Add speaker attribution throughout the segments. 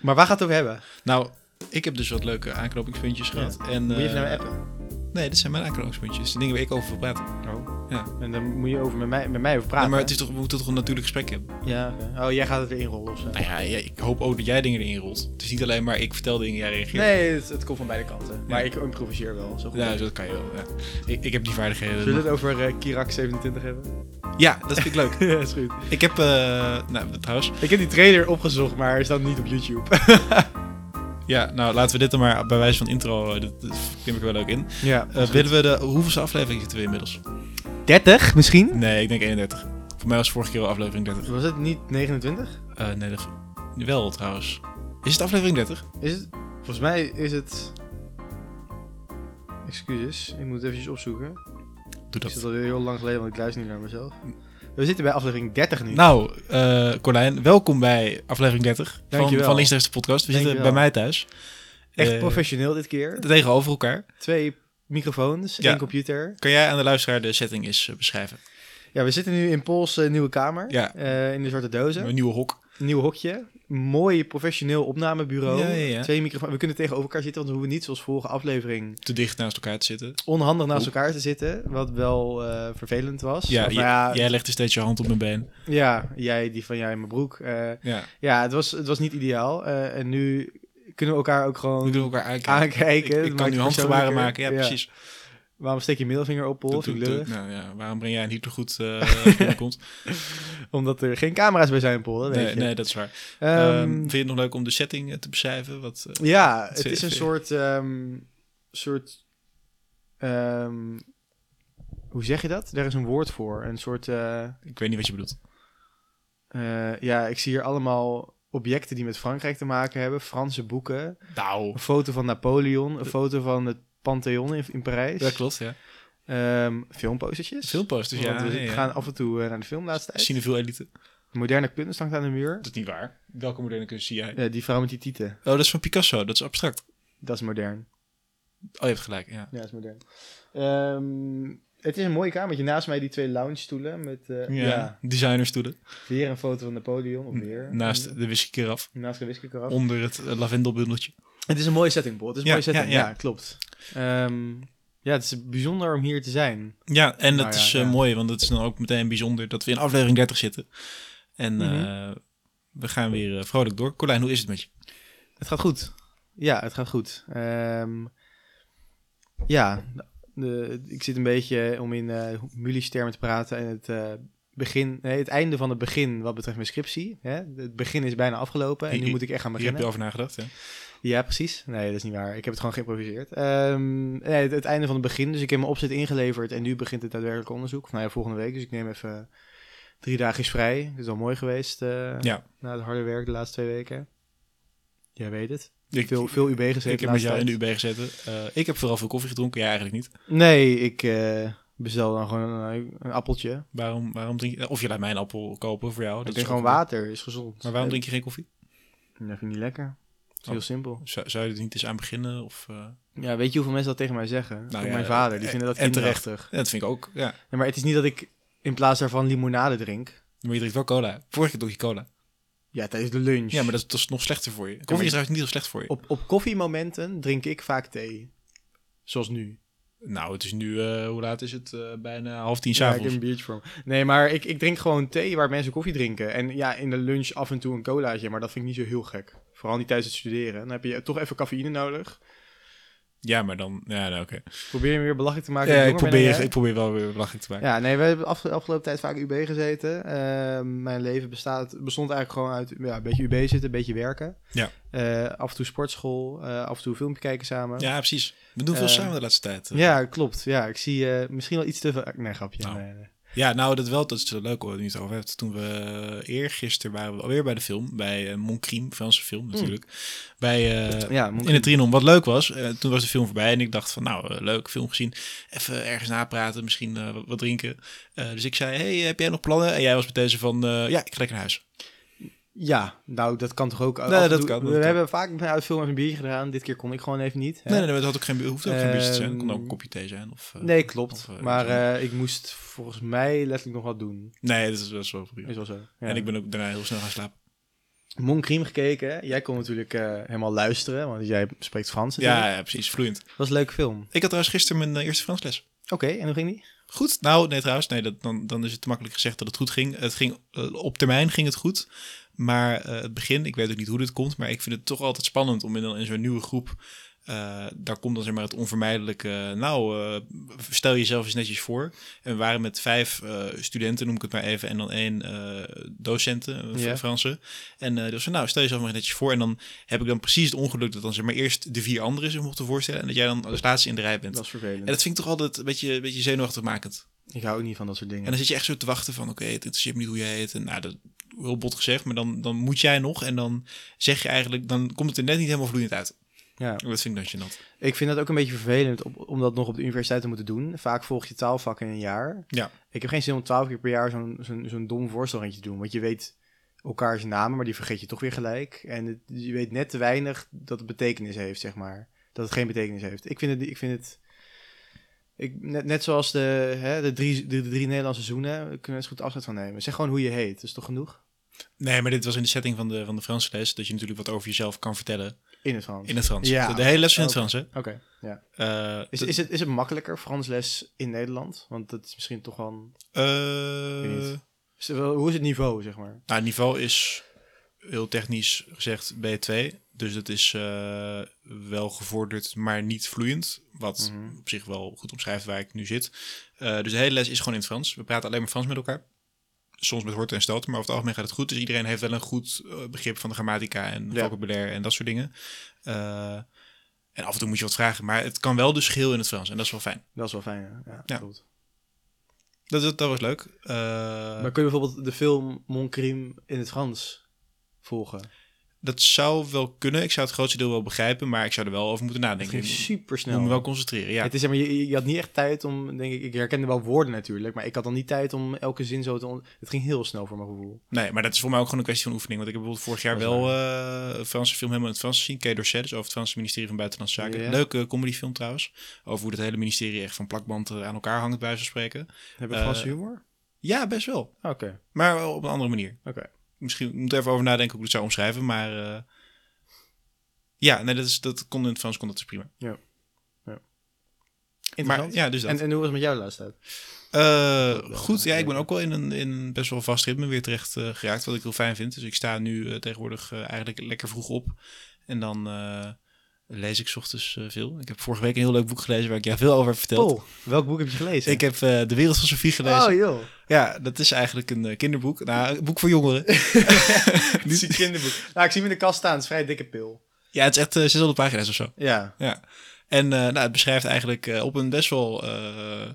Speaker 1: Maar waar gaat het over hebben?
Speaker 2: Nou, ik heb dus wat leuke aanknopingspuntjes gehad. En,
Speaker 1: Moet je even
Speaker 2: eh,
Speaker 1: naar mij appen?
Speaker 2: Nee, dit zijn mijn aanknopingspuntjes. De dingen waar ik over wil praten.
Speaker 1: Oh.
Speaker 2: ja.
Speaker 1: En dan moet je over met mij, met mij over praten.
Speaker 2: Nee, maar het is toch, we moeten toch een natuurlijk gesprek hebben?
Speaker 1: Ja, oké. oh, jij gaat het weer inrollen of zo.
Speaker 2: Nou ja, ja, ik hoop ook dat jij dingen erin rolt. Het is niet alleen maar ik vertel dingen, jij reageert.
Speaker 1: Nee, het, het komt van beide kanten. Maar ik improviseer wel. Zo goed.
Speaker 2: Ja, zo, dat kan je wel. Ja. Ik, ik heb die vaardigheden.
Speaker 1: Zullen we het over eh, Kirak 27 hebben?
Speaker 2: Ja, dat vind ik leuk.
Speaker 1: ja, is goed.
Speaker 2: Ik heb, eh, nou trouwens,
Speaker 1: Ik heb die trailer opgezocht, maar hij staat niet op YouTube.
Speaker 2: ja, nou laten we dit dan maar bij wijze van intro, eh, dat, dat klim ik er wel leuk in.
Speaker 1: ja.
Speaker 2: Eh willen we de, hoeveelste aflevering zitten we inmiddels?
Speaker 1: 30 misschien?
Speaker 2: Nee, ik denk 31. Voor mij was vorige keer wel aflevering 30.
Speaker 1: Was het niet 29?
Speaker 2: Eh, nee, dat, wel trouwens. Is het aflevering 30?
Speaker 1: Is het? Volgens mij is het... Excuses, ik moet het eventjes opzoeken.
Speaker 2: Doe
Speaker 1: Ik
Speaker 2: dat.
Speaker 1: zit alweer heel lang geleden, want ik luister niet naar mezelf. We zitten bij aflevering 30 nu.
Speaker 2: Nou, eh, Corlijn, welkom bij aflevering 30 van,
Speaker 1: Dankjewel.
Speaker 2: van Links Rechts de podcast. We zitten
Speaker 1: Dankjewel.
Speaker 2: bij mij thuis.
Speaker 1: Echt
Speaker 2: Eh,
Speaker 1: professioneel dit keer.
Speaker 2: Tegenover elkaar.
Speaker 1: Twee microfoons,
Speaker 2: Ja.
Speaker 1: één computer.
Speaker 2: Kan jij aan de luisteraar de setting eens eh, beschrijven?
Speaker 1: Ja, we zitten nu in Pauls eh, nieuwe kamer.
Speaker 2: Ja.
Speaker 1: Eh, in de zwarte dozen.
Speaker 2: Een nieuwe hok.
Speaker 1: Nieuw hokje. Mooi professioneel opnamebureau.
Speaker 2: Ja, ja, ja.
Speaker 1: Twee microfoons. We kunnen tegenover elkaar zitten, want we hoeven niet zoals vorige aflevering
Speaker 2: Te dicht naast elkaar te zitten.
Speaker 1: onhandig naast
Speaker 2: Oep.
Speaker 1: elkaar te zitten. Wat wel eh, vervelend was.
Speaker 2: Ja,
Speaker 1: Of,
Speaker 2: j-
Speaker 1: nou ja,
Speaker 2: jij legde steeds je hand op mijn been.
Speaker 1: ja, jij die van jij in mijn broek. Eh,
Speaker 2: Ja.
Speaker 1: ja, het was, het was niet ideaal. Eh, en nu kunnen we elkaar ook
Speaker 2: We
Speaker 1: gewoon
Speaker 2: doen elkaar aankijken.
Speaker 1: aankijken.
Speaker 2: Ik,
Speaker 1: Dat
Speaker 2: ik
Speaker 1: maakt
Speaker 2: kan nu
Speaker 1: het
Speaker 2: handgebaren
Speaker 1: persoonlijker.
Speaker 2: maken. Ja, precies.
Speaker 1: Waarom steek je middelvinger op, Paul?
Speaker 2: Dat
Speaker 1: Vind ik
Speaker 2: doe-
Speaker 1: lullig.
Speaker 2: doe- nou ja, waarom breng jij een Hitlergoed eh komt?
Speaker 1: Omdat er geen camera's bij zijn, Paul. Dat weet
Speaker 2: Nee,
Speaker 1: je.
Speaker 2: nee, dat is waar.
Speaker 1: Ehm,
Speaker 2: Ehm, vind je het nog leuk om de setting eh, te beschrijven? Wat, eh,
Speaker 1: Ja,
Speaker 2: Het
Speaker 1: het is
Speaker 2: is-
Speaker 1: een soort... ehm, soort ehm, hoe zeg je dat? Daar is een woord voor. Een soort... eh,
Speaker 2: ik weet niet wat je bedoelt.
Speaker 1: eh, ja, ik zie hier allemaal objecten die met Frankrijk te maken hebben. Franse boeken.
Speaker 2: Nou,
Speaker 1: Een foto van Napoleon. Een foto van het Pantheon in, in Parijs.
Speaker 2: dat klopt, ja.
Speaker 1: Ehm, filmpostertjes. Dus
Speaker 2: Filmposters, ja.
Speaker 1: Want we
Speaker 2: ja, ja.
Speaker 1: gaan af en toe eh, naar de film de laatste tijd.
Speaker 2: Cinefiel elite.
Speaker 1: Moderne kunst hangt aan de muur.
Speaker 2: Dat is niet waar. Welke moderne kunst zie jij?
Speaker 1: Eh, die vrouw met die tieten.
Speaker 2: Oh, dat is van Picasso. Dat is abstract.
Speaker 1: Dat is modern.
Speaker 2: Oh, je hebt gelijk, ja.
Speaker 1: Ja, dat is modern. Ehm, het is een mooi kamertje. Naast mij die twee lounge stoelen met eh,
Speaker 2: Ja,
Speaker 1: ja.
Speaker 2: designerstoelen.
Speaker 1: weer een foto van Napoleon. Of weer.
Speaker 2: Naast de whiskykeraf.
Speaker 1: Naast een whiskykaraf.
Speaker 2: Onder het eh, lavendelbundeltje.
Speaker 1: Het is een mooie setting, Paul. Het is een
Speaker 2: Ja,
Speaker 1: mooie setting.
Speaker 2: ja,
Speaker 1: Ja,
Speaker 2: ja.
Speaker 1: klopt. Ehm, ja, het is bijzonder om hier te zijn.
Speaker 2: Ja, en dat
Speaker 1: Nou ja,
Speaker 2: is eh,
Speaker 1: ja.
Speaker 2: mooi, want het is dan ook meteen bijzonder dat we in aflevering 30 zitten. En
Speaker 1: Mhm.
Speaker 2: eh, we gaan weer eh, vrolijk door. Colijn, hoe is het met je?
Speaker 1: Het gaat goed. Ja, het gaat goed. Ehm, ja, de- ik zit een beetje om in eh Mulisch termen te praten. En het, eh, begin, nee, het einde van het begin wat betreft mijn scriptie. Hè? Het begin is bijna afgelopen en
Speaker 2: Hier-
Speaker 1: nu moet ik echt gaan
Speaker 2: Hier heb
Speaker 1: beginnen.
Speaker 2: je over nagedacht, hè?
Speaker 1: Ja, precies. Nee, dat is niet waar. Ik heb het gewoon geïmproviseerd. Ehm, nee, het, het einde van het begin. Dus ik heb mijn opzet ingeleverd en nu begint het daadwerkelijk onderzoek. Of Nou ja, volgende week. Dus ik neem even drie dagen is vrij. Het is wel mooi geweest eh,
Speaker 2: Ja.
Speaker 1: na het harde werk de laatste twee weken. Jij weet het.
Speaker 2: Ik,
Speaker 1: Veel, veel UB gezeten.
Speaker 2: ik heb
Speaker 1: de
Speaker 2: met
Speaker 1: laatste
Speaker 2: jou in de
Speaker 1: tijd.
Speaker 2: UB gezeten. Eh, ik heb vooral veel koffie gedronken. Jij eigenlijk niet.
Speaker 1: Nee, ik eh, bestel dan gewoon een, een appeltje.
Speaker 2: Waarom, waarom drink je... eh, Of je laat mij een appel kopen voor jou.
Speaker 1: ik
Speaker 2: Oh, is
Speaker 1: drink gewoon
Speaker 2: ook-
Speaker 1: water, is gezond.
Speaker 2: Maar waarom drink je geen koffie?
Speaker 1: je? Dat vind ik niet lekker. Het is
Speaker 2: Oh.
Speaker 1: heel simpel.
Speaker 2: Zou, zou je er niet eens aan beginnen? Of, eh,
Speaker 1: Ja, weet je hoeveel mensen dat tegen mij zeggen? Ook
Speaker 2: Nou ja,
Speaker 1: mijn vader, die
Speaker 2: en-
Speaker 1: vinden dat
Speaker 2: en terecht.
Speaker 1: kinderachtig.
Speaker 2: ja, dat vind ik ook, ja.
Speaker 1: Ja, maar het is niet dat ik in plaats daarvan limonade drink.
Speaker 2: Maar je drinkt wel cola. Vorige keer dronk je cola.
Speaker 1: Ja, tijdens de lunch.
Speaker 2: Ja, maar dat is, dat is nog slechter voor je.
Speaker 1: maar-
Speaker 2: Koffie is trouwens niet zo slecht voor je.
Speaker 1: op, op koffiemomenten drink ik vaak thee. Zoals nu.
Speaker 2: Nou, het is nu... eh, hoe laat is het? Eh, bijna half tien
Speaker 1: Ja, ik
Speaker 2: s'avonds.
Speaker 1: heb een biertje voor me. Nee, maar ik, ik drink gewoon thee waar mensen koffie drinken. En ja, in de lunch af en toe een colaatje, maar dat vind ik niet zo heel gek. Vooral niet tijdens het studeren. Dan heb je toch even cafeïne nodig.
Speaker 2: Ja, maar dan... Ja, nou, oké.
Speaker 1: Probeer je me weer belachelijk te maken.
Speaker 2: Ja,
Speaker 1: dat
Speaker 2: ik
Speaker 1: jonger ben dan
Speaker 2: probeer,
Speaker 1: jij.
Speaker 2: ik probeer wel weer belachelijk te maken.
Speaker 1: Ja, nee, we hebben af, de afgelopen tijd vaak UB gezeten. Eh, mijn leven bestaat, bestond eigenlijk gewoon uit ja, een beetje UB zitten, een beetje werken.
Speaker 2: Ja.
Speaker 1: Eh, af en toe sportschool, eh, af en toe een filmpje kijken samen.
Speaker 2: Ja, precies. We doen veel
Speaker 1: Eh,
Speaker 2: samen de laatste tijd.
Speaker 1: Ja, klopt. Ja, ik zie eh, misschien wel iets te veel. Nee, grapje.
Speaker 2: Nou.
Speaker 1: Nee, nee.
Speaker 2: Ja, nou, dat wel. Dat is zo leuk hoor, dat je het over hebt. Toen we eh, eergisteren waren we alweer bij de film. Bij eh Moncriem, Franse film natuurlijk. Bij, eh,
Speaker 1: Ja, moet ik-
Speaker 2: in het Trianon. Wat leuk was, eh, toen was de film voorbij en ik dacht van, nou, eh, leuk, film gezien. Even ergens napraten, misschien eh, wat, wat drinken. Eh, dus ik zei, hey, heb jij nog plannen? En jij was met deze van, eh, ja, ik ga lekker naar huis.
Speaker 1: ja, nou, dat kan toch ook.
Speaker 2: Nee,
Speaker 1: af en
Speaker 2: dat
Speaker 1: toe-
Speaker 2: kan, dat
Speaker 1: We
Speaker 2: kan.
Speaker 1: hebben vaak uit film even een biertje gedaan. Dit keer kon ik gewoon even niet. hè.
Speaker 2: Nee, nee, nee, dat had ook geen, hoeft ook geen biertje te zijn. Het kon ook een
Speaker 1: Ehm,
Speaker 2: kopje thee zijn. Of, eh,
Speaker 1: Nee, klopt.
Speaker 2: Of, eh,
Speaker 1: maar
Speaker 2: iets
Speaker 1: eh, ik moest volgens mij letterlijk nog wat doen.
Speaker 2: Nee, dat is, dat is wel prima.
Speaker 1: Is wel zo. Ja.
Speaker 2: En ik ben ook daarna heel snel gaan slapen.
Speaker 1: Monkriem gekeken. hè? Jij kon natuurlijk eh, helemaal luisteren, want jij spreekt Frans. natuurlijk.
Speaker 2: Ja, ja, precies, vloeiend.
Speaker 1: was een leuke film.
Speaker 2: Ik had trouwens gisteren mijn eh, eerste Fransles.
Speaker 1: Oké, en hoe ging die?
Speaker 2: Goed, nou, nee trouwens, nee, dat, dan, dan is het te makkelijk gezegd dat het goed ging. Het ging eh, op termijn ging het goed, maar eh, het begin, ik weet ook niet hoe dit komt, maar ik vind het toch altijd spannend om in, een- in zo'n nieuwe groep, eh, daar komt dan zeg maar het onvermijdelijke, eh, nou, eh, stel jezelf eens netjes voor. En we waren met vijf eh, studenten, noem ik het maar even, en dan één eh docenten, een
Speaker 1: Ja.
Speaker 2: Franse. En eh die was van, nou, stel jezelf maar eens netjes voor. En dan heb ik dan precies het ongeluk dat dan zeg maar eerst de vier anderen zich mochten voorstellen en dat jij dan als laatste in de rij bent.
Speaker 1: Dat is vervelend.
Speaker 2: En dat vind ik toch altijd een beetje, een beetje zenuwachtigmakend.
Speaker 1: Ik hou ook niet van dat soort
Speaker 2: En
Speaker 1: dingen.
Speaker 2: dan zit je echt zo te wachten van, oké, het interesseert me niet hoe jij heet. En nou, dat is heel bot gezegd, maar dan, dan moet jij nog. En dan zeg je eigenlijk, dan komt het er net niet helemaal vloeiend uit.
Speaker 1: Ja.
Speaker 2: Dat vind ik dan gênant.
Speaker 1: Oh, Ik vind dat ook een beetje vervelend op- om dat nog op de universiteit te moeten doen. Vaak volg je taalvakken in een jaar.
Speaker 2: Ja.
Speaker 1: Ik heb geen zin om twaalf keer per jaar zo'n zo'n zo'n dom voorstelrandje te doen. Want je weet elkaars namen, maar die vergeet je toch weer gelijk. En het- je weet net te weinig dat het betekenis heeft, zeg maar. Dat het geen betekenis heeft. Ik vind het... Ik vind het ik, net, net zoals de, hè, de, drie, de, de drie Nederlandse seizoenen, daar kunnen we net zo goed afscheid van nemen. Zeg gewoon hoe je heet, dat is toch genoeg?
Speaker 2: Nee, maar dit was in de setting van de, van de Franse les, dat je natuurlijk wat over jezelf kan vertellen
Speaker 1: In het Frans.
Speaker 2: in het Frans.
Speaker 1: Ja.
Speaker 2: De, de hele les was in het
Speaker 1: Oké.
Speaker 2: Frans, hè?
Speaker 1: Oké, ja.
Speaker 2: Eh,
Speaker 1: Is,
Speaker 2: dat-
Speaker 1: is, het, is het makkelijker, Frans les in Nederland? Want dat is misschien toch wel... een-
Speaker 2: eh,
Speaker 1: Ik weet niet. is het wel- Hoe is het niveau, zeg maar?
Speaker 2: nou, het niveau is heel technisch gezegd B2. Dus het is eh, wel gevorderd, maar niet vloeiend. Wat
Speaker 1: Mhm.
Speaker 2: op zich wel goed omschrijft waar ik nu zit. Eh, dus de hele les is gewoon in het Frans. We praten alleen maar Frans met elkaar. Soms met horten en stoten, maar over het algemeen gaat het goed. Dus iedereen heeft wel een goed eh, begrip van de grammatica en
Speaker 1: Ja.
Speaker 2: vocabulaire en dat soort dingen. Eh, en af en toe moet je wat vragen, maar het kan wel dus geheel in het Frans. En dat is wel fijn.
Speaker 1: Dat is wel fijn, hè? ja.
Speaker 2: Ja.
Speaker 1: klopt.
Speaker 2: Dat, dat, dat was leuk. Eh,
Speaker 1: Maar kun je bijvoorbeeld de film Mon Crime in het Frans volgen?
Speaker 2: dat zou wel kunnen. Ik zou het grootste deel wel begrijpen, maar ik zou er wel over moeten
Speaker 1: Het
Speaker 2: nadenken.
Speaker 1: ging
Speaker 2: Ik
Speaker 1: super
Speaker 2: moet
Speaker 1: snel.
Speaker 2: me wel concentreren, ja.
Speaker 1: Het is, zeg maar, je, je had niet echt tijd om, denk ik, ik herkende wel woorden natuurlijk, maar ik had dan niet tijd om elke zin zo te... on- Het ging heel snel voor mijn gevoel.
Speaker 2: Nee, maar dat is voor mij ook gewoon een kwestie van oefening. Want ik heb bijvoorbeeld vorig
Speaker 1: Dat
Speaker 2: jaar
Speaker 1: is
Speaker 2: wel eh, een Franse film helemaal in het Frans gezien. Kay Dorset, dus over het Franse ministerie van Buitenlandse Zaken.
Speaker 1: Ja.
Speaker 2: Leuke comedyfilm trouwens. Over hoe het hele ministerie echt van plakband eh, aan elkaar hangt, bij wijze van spreken.
Speaker 1: Heb ik
Speaker 2: Eh,
Speaker 1: Franse humor?
Speaker 2: Ja, best wel.
Speaker 1: Ah, Oké,
Speaker 2: Maar wel op een andere manier.
Speaker 1: oké.
Speaker 2: Misschien ik moet er even over nadenken hoe ik het zou omschrijven. Maar eh, ja, nee, dat, is, dat kon in het Frans kon dat dus prima. Maar
Speaker 1: Interessant.
Speaker 2: ja, dus dat.
Speaker 1: en, en hoe was het met jou de laatste tijd?
Speaker 2: Eh, goed, ja, ik ben ook wel in een in best wel vast ritme weer terecht eh, geraakt, wat ik heel fijn vind. Dus ik sta nu eh, tegenwoordig eh, eigenlijk lekker vroeg op. En dan eh, lees ik 's ochtends eh, veel. Ik heb vorige week een heel leuk boek gelezen waar ik jou veel over heb verteld.
Speaker 1: Paul, welk boek heb je gelezen?
Speaker 2: Ik heb eh, De Wereld van Sophie gelezen.
Speaker 1: Oh joh,
Speaker 2: Ja, dat is eigenlijk een eh, kinderboek. Nou, een boek voor jongeren.
Speaker 1: het is een kinderboek. Nou, ik zie hem in de kast staan, het is een vrij dikke pil.
Speaker 2: ja, het is echt eh, 600 pagina's of zo.
Speaker 1: Ja,
Speaker 2: Ja. En eh, nou, het beschrijft eigenlijk eh, op een best wel eh,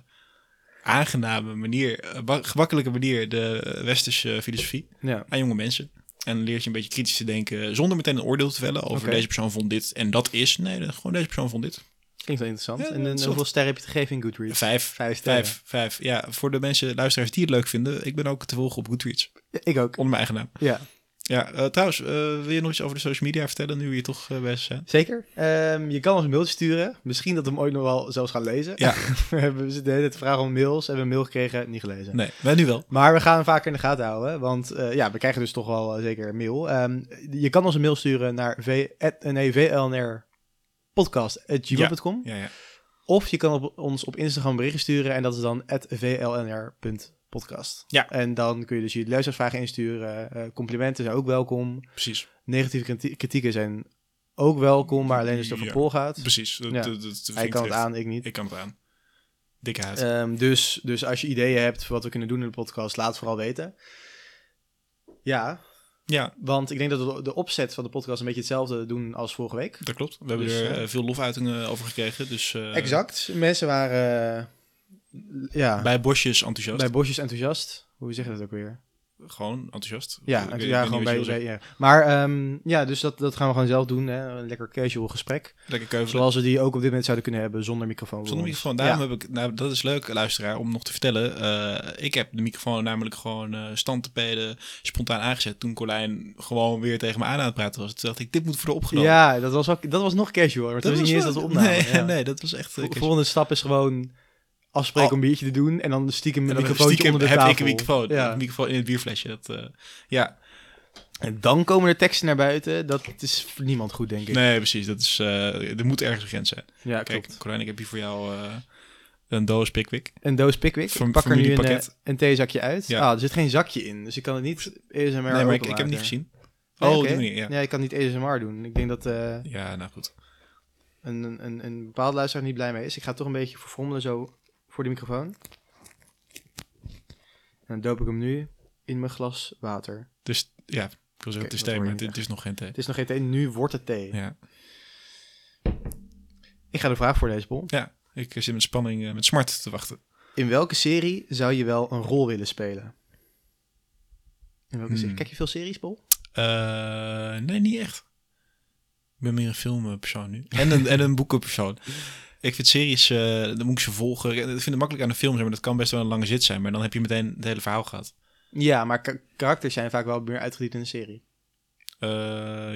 Speaker 2: aangename manier, eh, ba- gemakkelijke manier, de eh, westerse filosofie.
Speaker 1: ja.
Speaker 2: aan jonge mensen. En dan leert je een beetje kritisch te denken zonder meteen een oordeel te vellen over
Speaker 1: Oké.
Speaker 2: deze persoon vond dit en dat is. Nee, gewoon deze persoon vond dit.
Speaker 1: Klinkt wel interessant.
Speaker 2: Ja,
Speaker 1: en, en
Speaker 2: soort-
Speaker 1: hoeveel sterren heb je te geven in Goodreads?
Speaker 2: Vijf.
Speaker 1: Vijf sterren.
Speaker 2: Vijf, vijf. Ja, voor de mensen, luisteraars die het leuk vinden. Ik ben ook te volgen op Goodreads.
Speaker 1: Ja, ik ook.
Speaker 2: Onder mijn eigen naam.
Speaker 1: Ja.
Speaker 2: Ja, eh, trouwens, eh, wil je nog iets over de social media vertellen nu we hier toch eh, bezig zijn?
Speaker 1: Zeker. Ehm, je kan ons een mailtje sturen. Misschien dat we hem ooit nog wel zelfs gaan lezen.
Speaker 2: Ja.
Speaker 1: we hebben- we zitten de hele tijd te vragen om mails. Hebben we een mail gekregen? Niet gelezen.
Speaker 2: Nee, wij nu wel.
Speaker 1: Maar we gaan hem vaker in de gaten houden. Want eh, ja, we krijgen dus toch wel eh, zeker mail. Ehm, je kan ons een mail sturen naar v at- nee, vlnrpodcast.gmail.com.
Speaker 2: Ja, ja.
Speaker 1: Of je kan op, ons op Instagram berichten sturen. En dat is dan vlnr.podcast.
Speaker 2: Ja.
Speaker 1: En dan kun je dus je luistervragen insturen. Eh, complimenten zijn ook welkom.
Speaker 2: Precies,
Speaker 1: Negatieve kriti- kritieken zijn ook welkom. Maar alleen als het over
Speaker 2: Ja.
Speaker 1: Paul gaat.
Speaker 2: precies. Dat,
Speaker 1: Ja.
Speaker 2: dat- dat vind
Speaker 1: Hij
Speaker 2: ik
Speaker 1: kan het
Speaker 2: terecht.
Speaker 1: aan, ik niet.
Speaker 2: Ik kan het aan. Dikke huid.
Speaker 1: Ehm, dus, dus als je ideeën hebt voor wat we kunnen doen in de podcast, laat het vooral weten. Ja,
Speaker 2: ja,
Speaker 1: want ik denk dat we de opzet van de podcast een beetje hetzelfde doen als vorige week.
Speaker 2: dat klopt. We hebben
Speaker 1: Dus,
Speaker 2: er
Speaker 1: eh,
Speaker 2: eh, veel lofuitingen over gekregen. Dus eh,
Speaker 1: exact. Mensen waren eh, ja, bij,
Speaker 2: bij Bosjes enthousiast.
Speaker 1: Bosjes enthousiast. Hoe zeg je dat ook weer?
Speaker 2: Gewoon enthousiast. Ik
Speaker 1: Ja,
Speaker 2: weet- ik weet
Speaker 1: ja
Speaker 2: niet
Speaker 1: gewoon
Speaker 2: wat je
Speaker 1: bij...
Speaker 2: wil zeggen.
Speaker 1: bij ja. Maar ehm, ja, dus dat, dat gaan we gewoon zelf doen. Hè? Een lekker casual gesprek.
Speaker 2: Lekker keuvelen.
Speaker 1: Zoals we die ook op dit moment zouden kunnen hebben zonder microfoon.
Speaker 2: Zonder
Speaker 1: voor ons.
Speaker 2: microfoon. Daarom heb ik, nou, dat is leuk, luisteraar, om nog te vertellen. Eh, ik heb de microfoon namelijk gewoon eh stand te peden, spontaan aangezet. Toen Colijn gewoon weer tegen me aan aan het praten was. Toen dacht ik, dit moet worden opgenomen.
Speaker 1: Ja, dat was, ook, dat was nog casual. Maar toen
Speaker 2: was
Speaker 1: was niet eens dat
Speaker 2: wel-
Speaker 1: we opnamen.
Speaker 2: Nee,
Speaker 1: ja.
Speaker 2: nee, dat was echt... eh,
Speaker 1: De volgende stap is gewoon afspreken
Speaker 2: Oh.
Speaker 1: om een biertje te doen en dan stiekem
Speaker 2: en
Speaker 1: een
Speaker 2: dan
Speaker 1: microfoontje
Speaker 2: stiekem
Speaker 1: onder de
Speaker 2: heb
Speaker 1: tafel.
Speaker 2: ik een microfoon.
Speaker 1: Ja.
Speaker 2: Een microfoon in het bierflesje. Dat, eh, ja.
Speaker 1: En dan komen er teksten naar buiten. Dat is voor niemand goed, denk ik.
Speaker 2: Nee, precies. Dat is, eh, er moet ergens een grens zijn.
Speaker 1: Ja,
Speaker 2: Kijk,
Speaker 1: klopt.
Speaker 2: Corijn, ik heb hier voor jou eh, een doos Pickwick.
Speaker 1: Een doos Pickwick.
Speaker 2: Fam-
Speaker 1: ik pak er nu een, eh,
Speaker 2: familiepakket.
Speaker 1: een theezakje uit.
Speaker 2: Ja.
Speaker 1: Ah, er zit geen zakje in, dus ik kan het niet ASMR
Speaker 2: nee, maar ik,
Speaker 1: openmaken.
Speaker 2: ik heb hem niet gezien.
Speaker 1: Nee,
Speaker 2: oh,
Speaker 1: oké.
Speaker 2: die manier, ja.
Speaker 1: Ja, ik kan niet ASMR doen. Ik denk dat eh,
Speaker 2: Ja, nou goed.
Speaker 1: een, een, een, een bepaalde luisteraar niet blij mee is. Ik ga toch een beetje verfrommelen zo voor de microfoon. En dan doop ik hem nu in mijn glas water.
Speaker 2: Dus ja, ik wil zeggen,
Speaker 1: Oké,
Speaker 2: het is
Speaker 1: dat
Speaker 2: thee,
Speaker 1: hoor
Speaker 2: maar
Speaker 1: je
Speaker 2: het,
Speaker 1: niet
Speaker 2: het is nog geen thee.
Speaker 1: Het is nog geen thee, nu wordt het thee.
Speaker 2: Ja,
Speaker 1: Ik ga de vraag voor deze bol.
Speaker 2: ja ik zit met spanning, eh, met smart te wachten.
Speaker 1: In welke serie zou je wel een rol willen spelen? In welke
Speaker 2: Hmm.
Speaker 1: serie? Kijk je veel series, Bol?
Speaker 2: Eh, nee, niet echt. Ik ben meer een filmpersoon nu. En een, en een boekenpersoon. Ik vind series, eh, dan moet ik ze volgen. Ik vind het makkelijk aan een film zijn, maar dat kan best wel een lange zit zijn. Maar dan heb je meteen het hele verhaal gehad.
Speaker 1: Ja, maar ka- karakters zijn vaak wel meer uitgediept in een serie.
Speaker 2: Eh,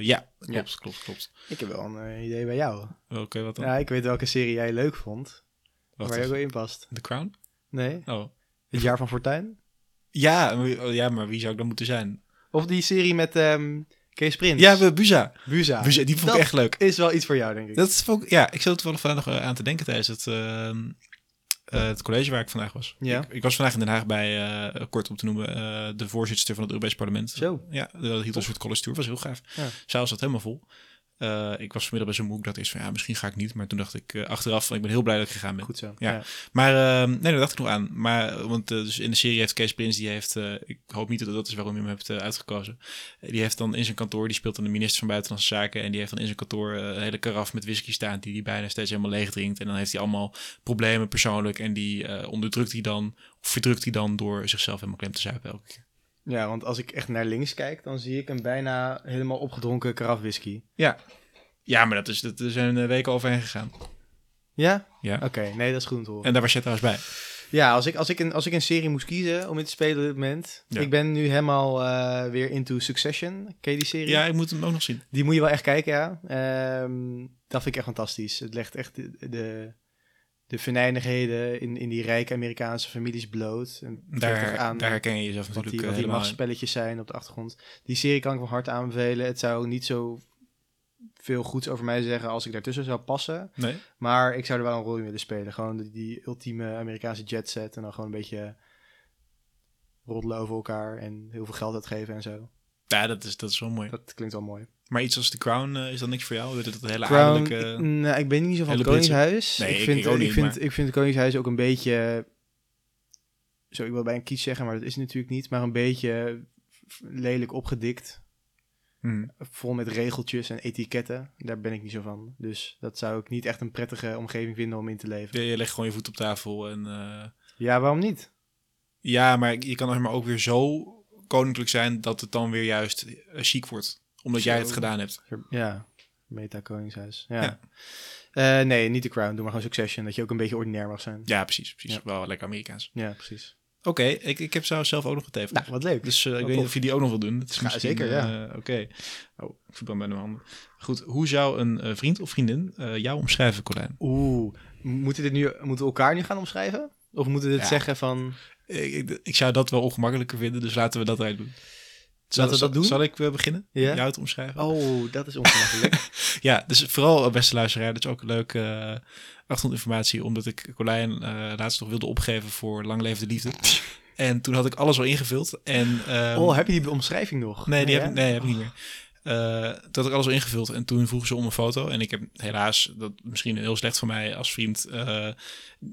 Speaker 2: ja, klopt,
Speaker 1: Ja.
Speaker 2: klopt, klopt.
Speaker 1: Ik heb wel een eh, idee bij jou.
Speaker 2: Oké, wat dan?
Speaker 1: Ja, ik weet welke serie jij leuk vond, waar
Speaker 2: Wacht
Speaker 1: je ook
Speaker 2: even.
Speaker 1: wel in past.
Speaker 2: The Crown?
Speaker 1: Nee?
Speaker 2: Oh.
Speaker 1: Het jaar van Fortuin?
Speaker 2: Ja, maar wie- oh, ja, maar wie zou ik dan moeten zijn?
Speaker 1: Of die serie met ehm, Kees Prins?
Speaker 2: Ja, we- Buza.
Speaker 1: Buza.
Speaker 2: Buza, die vond
Speaker 1: Dat
Speaker 2: ik echt leuk.
Speaker 1: is wel iets voor jou, denk ik.
Speaker 2: Dat vond ik, ja, ik zat er toevallig vandaag nog eh, aan te denken tijdens het, ehm, eh, het college waar ik vandaag was.
Speaker 1: Ja.
Speaker 2: Ik, ik was vandaag in Den Haag bij, eh, kort om te noemen, eh, de voorzitter van het Europees Parlement.
Speaker 1: Zo.
Speaker 2: Ja, dat hield een soort college tour. was heel gaaf.
Speaker 1: Ja.
Speaker 2: Zaal zat helemaal vol. Eh, ik was vanmiddag bij zo'n moe. Ik dacht eerst van, ja, misschien ga ik niet. Maar toen dacht ik eh, achteraf, ik ben heel blij dat ik gegaan ben.
Speaker 1: Goed zo.
Speaker 2: Ja.
Speaker 1: Ja.
Speaker 2: Maar ehm, nee, daar dacht ik nog aan. Maar, eh, want eh, dus in de serie heeft Kees Prins, die heeft, eh, ik hoop niet dat dat is waarom je hem hebt eh, uitgekozen. Eh, die heeft dan in zijn kantoor, die speelt dan de minister van Buitenlandse Zaken. En die heeft dan in zijn kantoor eh, een hele karaf met whisky staan, die hij bijna steeds helemaal leeg drinkt. En dan heeft hij allemaal problemen persoonlijk. En die eh, onderdrukt hij dan, of verdrukt hij dan door zichzelf helemaal klem te zuipen elke keer.
Speaker 1: Ja, want als ik echt naar links kijk, dan zie ik een bijna helemaal opgedronken karaf whisky.
Speaker 2: Ja. Ja, maar dat is, dat er zijn eh, weken overheen gegaan.
Speaker 1: Ja?
Speaker 2: Ja.
Speaker 1: Oké, nee, dat is goed om te horen.
Speaker 2: En daar was jij trouwens bij.
Speaker 1: Ja, als ik, als, ik een, als ik een serie moest kiezen om in te spelen op dit moment.
Speaker 2: Ja.
Speaker 1: Ik ben nu helemaal eh, weer into Succession. Ken je die serie?
Speaker 2: Ja, ik moet hem ook nog zien.
Speaker 1: Die moet je wel echt kijken, ja. Ehm, dat vind ik echt fantastisch. Het legt echt de, de, de venijnigheden in, in die rijke Amerikaanse families bloot. En het geeft echt
Speaker 2: Daar,
Speaker 1: aan
Speaker 2: daar herken je jezelf
Speaker 1: wat
Speaker 2: natuurlijk
Speaker 1: die, wat
Speaker 2: eh,
Speaker 1: die
Speaker 2: helemaal in.
Speaker 1: machtspelletjes zijn op de achtergrond. Die serie kan ik van harte aanbevelen. Het zou niet zo veel goeds over mij zeggen als ik daartussen zou passen.
Speaker 2: Nee?
Speaker 1: Maar ik zou er wel een rol in willen spelen. Gewoon die, die ultieme Amerikaanse jet set. En dan gewoon een beetje roddelen over elkaar. En heel veel geld uitgeven en zo.
Speaker 2: Ja, dat is, dat is wel mooi.
Speaker 1: Dat klinkt wel mooi.
Speaker 2: Maar iets als The Crown eh, is dan niks voor jou? Dat het hele
Speaker 1: Crown, ik,
Speaker 2: adellijke...
Speaker 1: nou, ik ben niet zo van het
Speaker 2: eh, hele Britse-
Speaker 1: Koningshuis.
Speaker 2: Nee,
Speaker 1: ik,
Speaker 2: ik-
Speaker 1: vind,
Speaker 2: ik ook niet,
Speaker 1: ik, vind,
Speaker 2: maar-
Speaker 1: ik vind het Koningshuis ook een beetje... Zo, ik wil bij een kies zeggen, maar dat is het natuurlijk niet. Maar een beetje lelijk opgedikt.
Speaker 2: Hmm.
Speaker 1: Vol met regeltjes en etiketten. Daar ben ik niet zo van. Dus dat zou ik niet echt een prettige omgeving vinden om in te leven.
Speaker 2: Je, je legt gewoon je voet op tafel en... eh,
Speaker 1: Ja, waarom niet?
Speaker 2: ja, maar je kan zeg maar ook weer zo koninklijk zijn dat het dan weer juist eh, chic wordt. Omdat jij het
Speaker 1: Zo.
Speaker 2: gedaan hebt.
Speaker 1: Ja, Meta Koningshuis. Ja.
Speaker 2: Ja.
Speaker 1: Eh, nee, niet de Crown. Doe maar gewoon Succession. Dat je ook een beetje ordinair mag zijn.
Speaker 2: Ja, precies. precies.
Speaker 1: Ja.
Speaker 2: Wel lekker Amerikaans.
Speaker 1: Ja, precies.
Speaker 2: Oké, ik, ik heb trouwens zelf ook nog een thee.
Speaker 1: Nou, wat leuk.
Speaker 2: Dus eh, ik
Speaker 1: Wat
Speaker 2: weet niet
Speaker 1: tof.
Speaker 2: of je die ook nog wil doen. Dat is
Speaker 1: Ja,
Speaker 2: misschien,
Speaker 1: zeker, ja.
Speaker 2: eh, Oké. Oh, ik verbrand bij mijn handen. Goed, hoe zou een eh, vriend of vriendin eh, jou omschrijven, Colijn?
Speaker 1: Oeh, moeten, dit nu, moeten we elkaar nu gaan omschrijven? Of moeten we dit
Speaker 2: Ja.
Speaker 1: zeggen van...
Speaker 2: Ik, ik, ik zou dat wel ongemakkelijker vinden, dus laten we dat eruit doen. Zal-
Speaker 1: Laten we
Speaker 2: zal-
Speaker 1: dat doen?
Speaker 2: Zal ik eh, beginnen?
Speaker 1: Ja.
Speaker 2: Jou te omschrijven?
Speaker 1: Oh, dat is ongemakkelijk.
Speaker 2: Ja, dus vooral eh, beste luisteraar, dat is ook een leuke eh, achtergrondinformatie, omdat ik Colijn eh, laatst nog wilde opgeven voor Lang Leven de Liefde. En toen had ik alles al ingevuld. En, ehm,
Speaker 1: oh, heb je die omschrijving nog?
Speaker 2: Nee, die
Speaker 1: ja?
Speaker 2: heb, ik, nee, heb ik niet meer. Eh, toen had ik alles al ingevuld en toen vroegen ze om een foto. En ik heb helaas, dat misschien heel slecht voor mij als vriend, eh,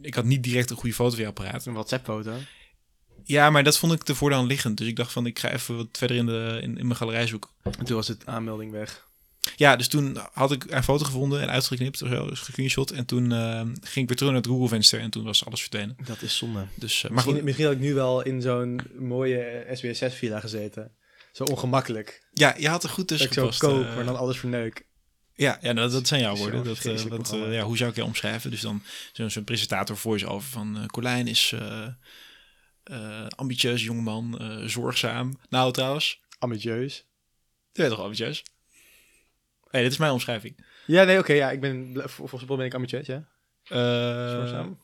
Speaker 2: ik had niet direct een goede foto weer apparaat.
Speaker 1: Een WhatsApp-foto.
Speaker 2: Ja, maar dat vond ik ervoor dan liggend. Dus ik dacht van, ik ga even wat verder in, de, in, in mijn galerij zoeken.
Speaker 1: En toen was het aanmelding weg.
Speaker 2: Ja, dus toen had ik een foto gevonden en uitgeknipt of zo, dus gescreenshot. En toen eh, ging ik weer terug naar het Google-venster en toen was alles verdwenen.
Speaker 1: Dat is zonde.
Speaker 2: Dus, eh, maar
Speaker 1: Misschien,
Speaker 2: goed,
Speaker 1: misschien had ik nu wel in zo'n mooie SBSS-villa gezeten. Zo ongemakkelijk.
Speaker 2: ja, je had er goed
Speaker 1: Dat
Speaker 2: tussen
Speaker 1: ik zo
Speaker 2: gepast.
Speaker 1: kook,
Speaker 2: eh.
Speaker 1: maar dan alles verneuk.
Speaker 2: Ja, ja nou, dat zijn jouw woorden.
Speaker 1: Zo'n
Speaker 2: Dat, eh,
Speaker 1: vreselijk
Speaker 2: dat, eh,
Speaker 1: programma.
Speaker 2: ja, hoe zou ik jou omschrijven? Dus dan zo'n zo'n presentator voice-over van eh Colijn is eh, eh, ambitieus jongman, eh, zorgzaam. Nou trouwens,
Speaker 1: Ambitieus.
Speaker 2: je bent toch ambitieus? Nee, dit is mijn omschrijving.
Speaker 1: Ja, nee, oké. ja, ik ben... bl- vol- Volgens mij ben ik ambitieus, ja.
Speaker 2: Eh,
Speaker 1: Zorgzaam.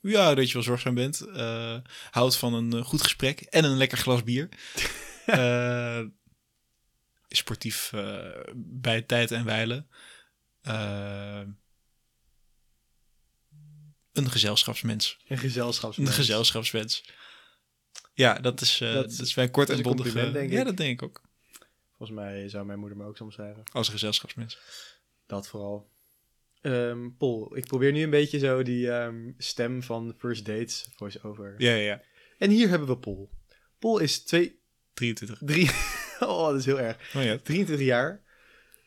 Speaker 2: Ja, dat je wel zorgzaam bent. Eh, houdt van een eh, goed gesprek en een lekker glas bier. Eh, sportief eh, bij tijd en wijle. Eh, een gezelschapsmens.
Speaker 1: Een
Speaker 2: Een
Speaker 1: gezelschapsmens.
Speaker 2: gezelschapswens. Ja, dat is, eh,
Speaker 1: Dat-
Speaker 2: dat, is mijn kort
Speaker 1: dat
Speaker 2: en
Speaker 1: is een
Speaker 2: bondig. eh.
Speaker 1: compliment, denk
Speaker 2: ja,
Speaker 1: ik.
Speaker 2: dat denk ik ook.
Speaker 1: Volgens mij zou mijn moeder me ook soms zeggen.
Speaker 2: Als een gezelschapsmens.
Speaker 1: Dat vooral. Ehm Paul, ik probeer nu een beetje zo die ehm, stem van First Dates voice-over.
Speaker 2: Ja, ja, ja.
Speaker 1: En hier hebben we Paul. Paul is twee,
Speaker 2: 23.
Speaker 1: drie... oh, dat is heel erg.
Speaker 2: Oh ja.
Speaker 1: 23 jaar.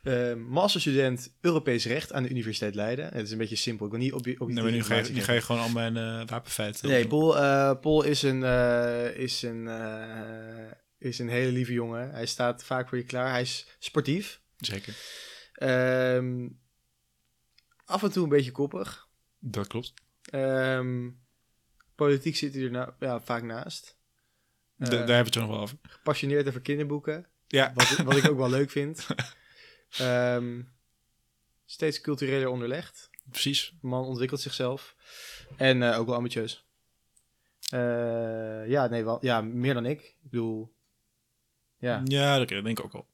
Speaker 1: ehm, masterstudent Europees Recht aan de Universiteit Leiden. Het is een beetje simpel. Ik wil niet op je... Op
Speaker 2: Nou, maar nu, ga je, nu
Speaker 1: informatie
Speaker 2: ga je gewoon al mijn eh, wapenfeiten.
Speaker 1: Nee,
Speaker 2: opnoemen.
Speaker 1: Paul, eh, Paul is een, eh, is, een, eh, is een hele lieve jongen. Hij staat vaak voor je klaar. Hij is sportief.
Speaker 2: Zeker.
Speaker 1: Ehm, af en toe een beetje koppig.
Speaker 2: Dat klopt.
Speaker 1: Ehm, politiek zit hij er nou, ja, vaak naast.
Speaker 2: Da-
Speaker 1: Eh,
Speaker 2: daar hebben we het zo nog wel over.
Speaker 1: Gepassioneerd over kinderboeken.
Speaker 2: Ja.
Speaker 1: Wat, wat ik ook wel leuk vind. Ehm, steeds cultureler onderlegd.
Speaker 2: Precies.
Speaker 1: De man ontwikkelt zichzelf. En eh, ook wel ambitieus. Eh, ja, nee, wel, ja, meer dan ik. Ik bedoel, ja,
Speaker 2: Ja, dat dat denk ik ook al.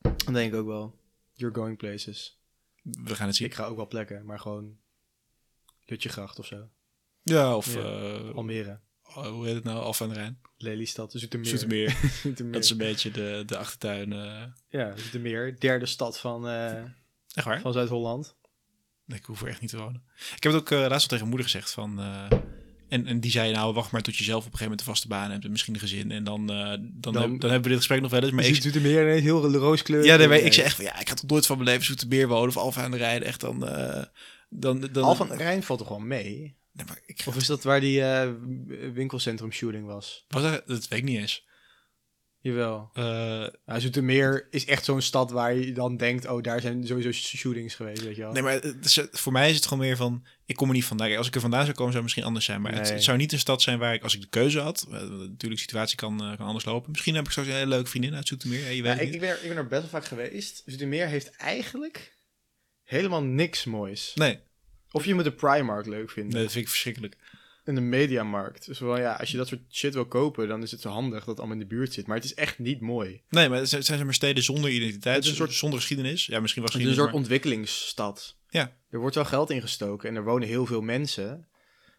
Speaker 1: dat denk ik ook wel. You're going places.
Speaker 2: We gaan het zien.
Speaker 1: Ik ga ook wel plekken, maar gewoon Lutjegracht of zo.
Speaker 2: Ja, of
Speaker 1: Ja.
Speaker 2: eh,
Speaker 1: Almere,
Speaker 2: oh, hoe heet het nou? Alphen aan de Rijn.
Speaker 1: Lelystad, Zoetermeer.
Speaker 2: Zoetermeer.
Speaker 1: Zoetermeer.
Speaker 2: Dat is een beetje de, de achtertuin. eh.
Speaker 1: Ja, Zoetermeer. Derde stad van, eh,
Speaker 2: Echt waar?
Speaker 1: van Zuid-Holland.
Speaker 2: Ik hoef er echt niet te wonen. Ik heb het ook eh, laatst al tegen mijn moeder gezegd van... eh, en, en die zei nou, wacht maar tot je zelf op een gegeven moment een vaste baan hebt en misschien een gezin. En dan, eh, dan,
Speaker 1: Dan-
Speaker 2: heb- dan hebben we dit gesprek nog wel eens. Maar
Speaker 1: Maar
Speaker 2: ik,
Speaker 1: Zoetermeer ineens heel rooskleur.
Speaker 2: ja, nee, maar ik zei echt van, ja, ik had toch nooit van mijn leven Zoetermeer wonen of Alfa aan de Rijn. Echt dan... eh, dan, dan
Speaker 1: Al van Eh, Rijn valt toch wel mee?
Speaker 2: Nee, maar ik,
Speaker 1: Of is dat waar die eh, winkelcentrum shooting was?
Speaker 2: was dat, dat weet ik niet eens.
Speaker 1: Jawel.
Speaker 2: Eh,
Speaker 1: Nou, Zoetermeer is echt zo'n stad waar je dan denkt, oh, daar zijn sowieso sh- shootings geweest, weet je wel.
Speaker 2: nee, maar het is- voor mij is het gewoon meer van... Ik kom er niet vandaan. Kijk, Als ik er vandaan zou komen, zou het misschien anders zijn. Maar het,
Speaker 1: Nee.
Speaker 2: het zou niet een stad zijn waar ik, als ik de keuze had... eh, natuurlijk, de situatie kan, eh, kan anders lopen. Misschien heb ik straks een hele leuke vriendin uit Zoetermeer. Ja, je weet
Speaker 1: Ja,
Speaker 2: het niet.
Speaker 1: ik, ik, ben er, ik ben er best wel vaak geweest. Zoetermeer heeft eigenlijk helemaal niks moois.
Speaker 2: Nee,
Speaker 1: Of je moet de Primark leuk vinden.
Speaker 2: nee, dat vind ik verschrikkelijk.
Speaker 1: En de Mediamarkt. Dus wel, ja, als je dat soort shit wil kopen, dan is het zo handig dat het allemaal in de buurt zit. Maar het is echt niet mooi.
Speaker 2: Nee, maar het zijn, het zijn zeg maar steden zonder identiteit,
Speaker 1: Het is een
Speaker 2: een soort, zonder geschiedenis. Ja, misschien wel
Speaker 1: Het is een
Speaker 2: geschiedenis,
Speaker 1: soort ontwikkelingsstad.
Speaker 2: Ja.
Speaker 1: Er wordt wel geld ingestoken en er wonen heel veel mensen.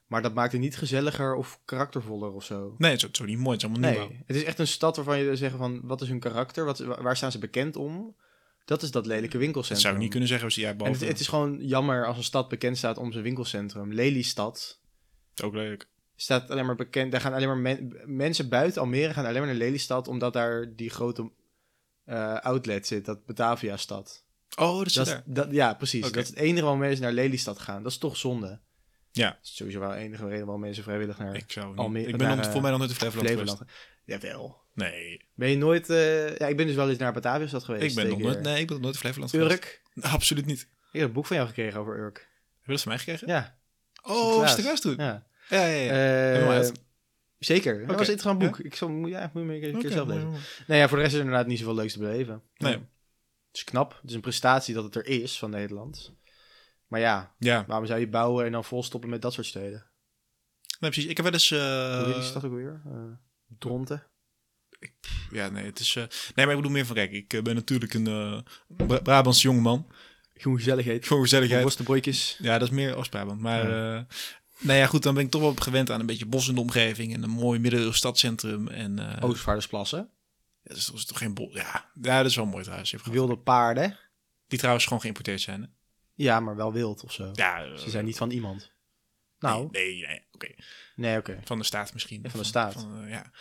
Speaker 1: Maar dat maakt het niet gezelliger of karaktervoller of zo.
Speaker 2: maar- Nee, het is, ook- het is ook niet mooi, het is allemaal nieuw.
Speaker 1: Nee, het is echt een stad waarvan je zegt van, wat is hun karakter? Wat, wa- waar staan ze bekend om? Dat is dat lelijke winkelcentrum.
Speaker 2: Dat zou ik niet kunnen zeggen als die ja,
Speaker 1: En
Speaker 2: boven.
Speaker 1: het, het is gewoon jammer als een stad bekend staat om zijn winkelcentrum. Lelystad
Speaker 2: ook leuk.
Speaker 1: staat alleen maar bekend. Daar gaan alleen maar men- mensen buiten Almere gaan alleen maar naar Lelystad, omdat daar die grote eh, outlet zit, dat Batavia-stad.
Speaker 2: Oh, dat is
Speaker 1: Dat, is-
Speaker 2: daar.
Speaker 1: dat, ja, precies.
Speaker 2: Oké.
Speaker 1: Dat is het enige waarom mensen naar Lelystad gaan. Dat is toch zonde.
Speaker 2: Ja.
Speaker 1: Dat is sowieso wel de enige reden waarom mensen vrijwillig naar
Speaker 2: Ik zou niet.
Speaker 1: Almere-
Speaker 2: ik ben
Speaker 1: naar,
Speaker 2: nog,
Speaker 1: eh,
Speaker 2: voor mij nog nooit in Flevoland,
Speaker 1: Flevoland gaan. Jawel.
Speaker 2: geweest. Nee,
Speaker 1: Ben je nooit... eh, ja, ik ben dus wel eens naar Batavia-stad geweest.
Speaker 2: ik ben nog
Speaker 1: twee
Speaker 2: nooit,
Speaker 1: keer.
Speaker 2: nee, ik ben nog nooit in Flevoland geweest.
Speaker 1: Urk.
Speaker 2: Absoluut niet. Heb
Speaker 1: Ik heb een boek van jou gekregen over Urk.
Speaker 2: je dat van mij gekregen?
Speaker 1: Ja.
Speaker 2: Oh,
Speaker 1: Sinterklaas.
Speaker 2: Sinterklaas toen.
Speaker 1: ja.
Speaker 2: Ja, ja, ja.
Speaker 1: Eh,
Speaker 2: Helemaal uit.
Speaker 1: zeker. Dat
Speaker 2: Oké.
Speaker 1: was een interessant boek. Ik zal, moet, ja, moet je maar een keer
Speaker 2: Oké,
Speaker 1: zelf
Speaker 2: mooi,
Speaker 1: lezen.
Speaker 2: mooi.
Speaker 1: Nee, ja, voor de rest is er inderdaad niet zoveel leuks te beleven.
Speaker 2: Nee.
Speaker 1: Ja. Het is knap. Het is een prestatie dat het er is van Nederland. Maar ja,
Speaker 2: Ja,
Speaker 1: waarom zou je bouwen en dan volstoppen met dat soort steden?
Speaker 2: nee, precies. Ik heb wel eens... eh,
Speaker 1: Hoe heet die stad ook weer? Eh Dronten.
Speaker 2: ja, nee, het is... eh, nee, maar ik bedoel meer van, kijk, ik eh, ben natuurlijk een eh Bra- Brabants jongeman.
Speaker 1: Gewoon gezelligheid.
Speaker 2: Voor gezelligheid.
Speaker 1: Worstenbroodjes.
Speaker 2: Ja, dat is meer Oost-Brabant. Maar eh, nou ja, goed, dan ben ik toch wel gewend aan een beetje bos in de omgeving en een mooi middeleeuws stadcentrum. En eh,
Speaker 1: Oh. Oostvaardersplassen.
Speaker 2: ja, dus dat is, dat is toch geen bos. Ja. ja, dat is wel mooi trouwens. je hebt gelijk.
Speaker 1: Wilde paarden.
Speaker 2: Die trouwens gewoon geïmporteerd zijn. Hè?
Speaker 1: Ja, maar wel wild of zo.
Speaker 2: Ja, eh,
Speaker 1: Ze zijn niet van iemand.
Speaker 2: nee,
Speaker 1: Nou,
Speaker 2: Nee, nee, oké.
Speaker 1: nee, oké.
Speaker 2: Van de staat misschien.
Speaker 1: Van de staat.
Speaker 2: van, eh, ja,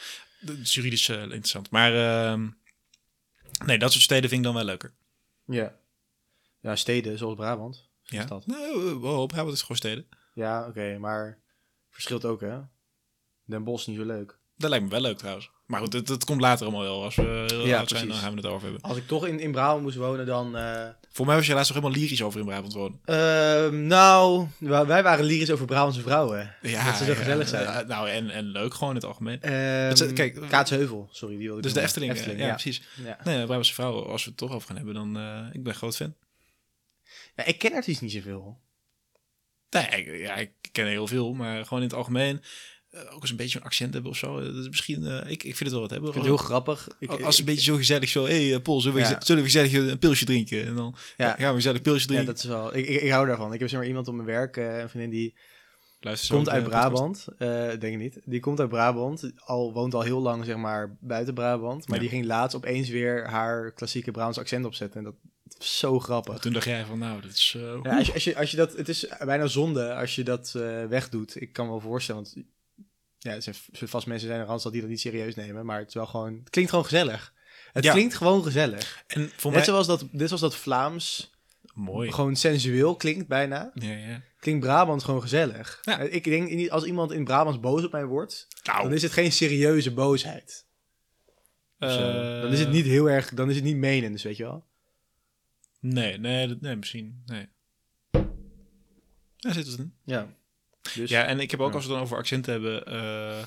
Speaker 2: dat is juridisch eh, interessant. Maar ehm, nee, dat soort steden vind ik dan wel leuker.
Speaker 1: Ja. Ja, steden zoals Brabant. Zo'n
Speaker 2: Ja.
Speaker 1: stad.
Speaker 2: Nou, eh, wow, Brabant is gewoon steden.
Speaker 1: Ja, oké, maar verschilt ook, hè? Den Bosch is niet zo leuk.
Speaker 2: Dat lijkt me wel leuk trouwens. Maar goed, dat, dat komt later allemaal wel. Als we heel
Speaker 1: Ja,
Speaker 2: oud zijn, dan
Speaker 1: precies.
Speaker 2: gaan we het over hebben.
Speaker 1: Als ik toch in, in Brabant moest wonen, dan... eh,
Speaker 2: Voor mij was je laatst nog helemaal lyrisch over in Brabant wonen.
Speaker 1: ehm, nou, wa- wij waren lyrisch over Brabantse vrouwen.
Speaker 2: Ja,
Speaker 1: Dat ze zo gezellig zijn.
Speaker 2: eh, nou, en, en leuk gewoon in het algemeen.
Speaker 1: Ehm,
Speaker 2: ze- kijk,
Speaker 1: Kaatsheuvel, sorry, die wilde ik
Speaker 2: Dus de
Speaker 1: noemen.
Speaker 2: Efteling, eh, ja,
Speaker 1: ja.
Speaker 2: precies.
Speaker 1: Ja.
Speaker 2: Nee, Brabantse vrouwen, als we het toch over gaan hebben, dan... eh, ik ben groot fan.
Speaker 1: Ja, ik ken artiesten niet zoveel.
Speaker 2: Nee, ik, ja, ik ken er heel veel, maar gewoon in het algemeen... eh, eh, ook eens een beetje een accent hebben of zo. Eh, dat is misschien, eh, ik, ik vind het wel wat hebben.
Speaker 3: vind het heel grappig.
Speaker 1: Ik-
Speaker 2: Als- als een beetje zo gezellig zo, hé hey, eh, Paul, zullen we,
Speaker 1: Ja.
Speaker 2: geze- zullen we gezellig een pilsje drinken? En dan
Speaker 1: Ja.
Speaker 2: ja. gaan we gezellig een pilsje
Speaker 1: Ja,
Speaker 2: drinken.
Speaker 1: dat is wel. Ik, ik, ik hou daarvan. Ik heb zeg maar iemand op mijn werk, eh, een vriendin die
Speaker 2: Luister zo
Speaker 1: komt
Speaker 2: de
Speaker 1: uit
Speaker 2: podcast.
Speaker 1: Brabant. Eh, denk ik niet. Die komt uit Brabant. Al woont al heel lang zeg maar buiten Brabant. Maar
Speaker 2: Ja.
Speaker 1: die ging laatst opeens weer haar klassieke Brabants accent opzetten. En dat is zo grappig.
Speaker 2: Toen dacht jij van, nou, dat is... eh,
Speaker 1: Ja, als, je, als, je, als je dat, het is bijna zonde als je dat eh, wegdoet. Ik kan me wel voorstellen, want ja, er zijn v- zullen vast mensen zijn in Randstad die dat niet serieus nemen, maar het is wel gewoon, het klinkt gewoon gezellig. Het
Speaker 2: Ja.
Speaker 1: klinkt gewoon gezellig.
Speaker 2: en voor
Speaker 1: Net
Speaker 2: mij...
Speaker 1: zoals dat, net zoals dat Vlaams
Speaker 2: Mooi.
Speaker 1: gewoon sensueel klinkt bijna,
Speaker 2: Ja, ja.
Speaker 1: klinkt Brabant gewoon gezellig.
Speaker 2: Ja.
Speaker 1: Eh, Ik denk niet, als iemand in Brabants boos op mij wordt,
Speaker 2: Nou,
Speaker 1: dan is het geen serieuze boosheid. Of zo.
Speaker 2: eh,
Speaker 1: dan is het niet heel erg, dan is het niet menens, weet je wel.
Speaker 2: Nee, nee, dat- nee misschien. Nee. Daar zit het in.
Speaker 1: Ja. Dus,
Speaker 2: Ja, en ik heb ook
Speaker 1: Ja.
Speaker 2: als we het dan over accenten hebben. eh,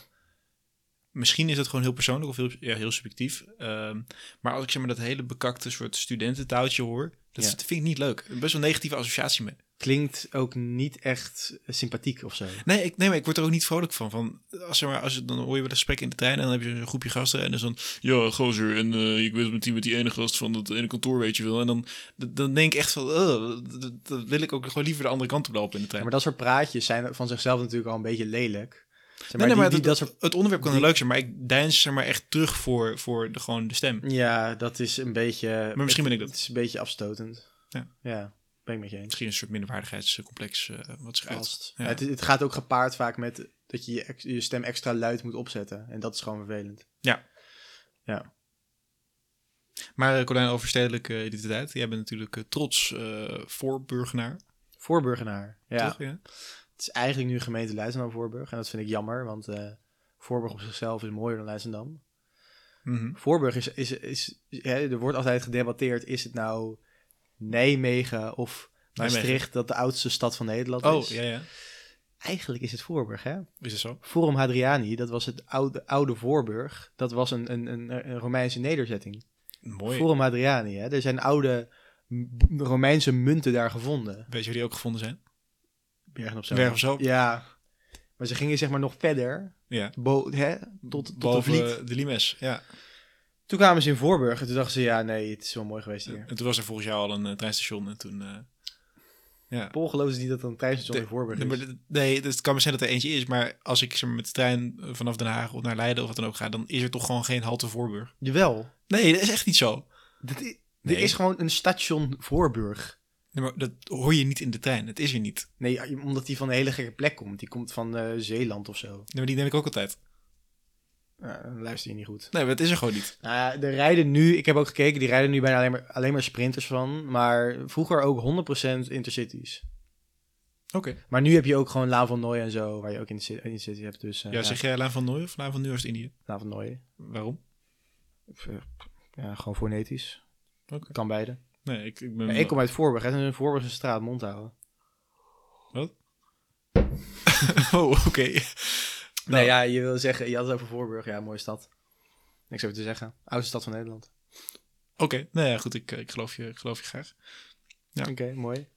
Speaker 2: misschien is dat gewoon heel persoonlijk of heel, ja, heel subjectief. Ehm, maar als ik zeg maar dat hele bekakte soort studententaaltje hoor, dat
Speaker 1: Ja.
Speaker 2: is- dat vind ik niet leuk. Best wel een negatieve associatie mee.
Speaker 1: klinkt ook niet echt eh, sympathiek of zo.
Speaker 2: Nee, ik, nee, maar ik word er ook niet vrolijk van. van als, zeg maar, als je, dan hoor je wel een gesprek in de trein en dan heb je een groepje gasten. En dan is dan, ja, gozer, en eh, ik weet met die, met die ene gast van dat ene kantoor, weet je wel. En dan, d- dan denk ik echt van, eh, dat- dat- dat wil ik ook gewoon liever de andere kant op lopen in de trein.
Speaker 1: Ja, maar dat soort praatjes zijn van zichzelf natuurlijk al een beetje lelijk. Zeg maar,
Speaker 2: nee, nee, maar
Speaker 1: die, die, dat
Speaker 2: dat,
Speaker 1: soort...
Speaker 2: het onderwerp kan
Speaker 1: die-
Speaker 2: leuk zijn, maar ik deins er maar echt terug voor, voor de, gewoon de stem.
Speaker 1: Ja, dat is een beetje...
Speaker 2: Maar misschien ben ik
Speaker 1: Het
Speaker 2: dat.
Speaker 1: is een beetje afstotend.
Speaker 2: Ja.
Speaker 1: ben ik met je eens.
Speaker 2: Misschien een soort minderwaardigheidscomplex eh, wat zich uit.
Speaker 1: Vast.
Speaker 2: Ja.
Speaker 1: Ja, Het, het gaat ook gepaard vaak met dat je je, ex- je stem extra luid moet opzetten. En dat is gewoon vervelend.
Speaker 2: Maar eh, Colijn, over stedelijke identiteit. Jij bent natuurlijk eh, trots eh voorburgenaar.
Speaker 1: Voor Burgenaar. Ja,
Speaker 2: Toch? Ja.
Speaker 1: het is eigenlijk nu gemeente Leidschendam-Voorburg. En dat vind ik jammer, want eh, Voorburg op zichzelf is mooier dan Leidschendam.
Speaker 2: Mhm.
Speaker 1: Voorburg is, is, is, is- hè, er wordt altijd gedebatteerd, is het nou Nijmegen of Maastricht
Speaker 2: Nijmegen.
Speaker 1: dat de oudste stad van Nederland
Speaker 2: Oh,
Speaker 1: is?
Speaker 2: ja, ja.
Speaker 1: Eigenlijk is het Voorburg, hè?
Speaker 2: Is het zo?
Speaker 1: Forum Hadriani, dat was het oude, oude Voorburg, dat was een, een, een, een Romeinse nederzetting.
Speaker 2: Mooi.
Speaker 1: Forum Hadriani, hè? Er zijn oude m- Romeinse munten daar gevonden.
Speaker 2: Weet je waar die ook gevonden zijn?
Speaker 1: Bergen op Zoom.
Speaker 2: Bergen op Zoom.
Speaker 1: Ja, maar ze gingen zeg maar nog verder,
Speaker 2: Ja.
Speaker 1: bo- hè? tot, tot
Speaker 2: Boven
Speaker 1: de Vliet.
Speaker 2: eh, de Limes. Ja.
Speaker 1: Toen kwamen ze in Voorburg en toen dachten ze, ja nee, het is wel mooi geweest hier.
Speaker 2: En toen was er volgens jou al een eh, treinstation en toen... eh, ja.
Speaker 1: Paul gelooft dus niet dat er een treinstation in Voorburg
Speaker 2: Nee, maar
Speaker 1: is.
Speaker 2: dit- nee, dus het kan maar zijn dat er eentje is, maar als ik zeg maar, met de trein eh, vanaf Den Haag of naar Leiden of wat dan ook ga, dan is er toch gewoon geen halte Voorburg.
Speaker 1: Jawel.
Speaker 2: Nee, dat is echt niet zo.
Speaker 1: Dit i-
Speaker 2: Nee.
Speaker 1: Er is gewoon een station Voorburg.
Speaker 2: Nee, maar dat hoor je niet in de trein. Het is er niet.
Speaker 1: Nee, omdat die van een hele gekke plek komt. Die komt van eh, Zeeland of zo.
Speaker 2: Nee, maar die neem ik ook altijd.
Speaker 1: Nou, dan luister je niet goed.
Speaker 2: Nee, maar het is er gewoon niet.
Speaker 1: Nou ja, er rijden nu, ik heb ook gekeken, die rijden nu bijna alleen maar, alleen maar sprinters van. Maar vroeger ook 100% intercities.
Speaker 2: Oké.
Speaker 1: Maar nu heb je ook gewoon Laan van Nooy en zo, waar je ook in de intercity hebt. Dus eh,
Speaker 2: Ja, zeg jij Laan van Nooy of Laan van Nieuwest-Indië?
Speaker 1: Laan van Nooy.
Speaker 2: Waarom?
Speaker 1: Ja, gewoon fonetisch.
Speaker 2: Oké.
Speaker 1: Kan beide.
Speaker 2: Nee, ik, ik ben...
Speaker 1: Maar ik kom uit Voorburg, hè. Dat is een Voorburgse straat, mond houden.
Speaker 2: Oh, oké.
Speaker 1: Nee, Nou ja, je wil zeggen, je had het over Voorburg. Ja, mooie stad. Niks over te zeggen. Oudste stad van Nederland.
Speaker 2: Oké, nou ja, goed. Ik, eh, ik, geloof je, ik geloof je graag. Ja.
Speaker 1: Oké, mooi.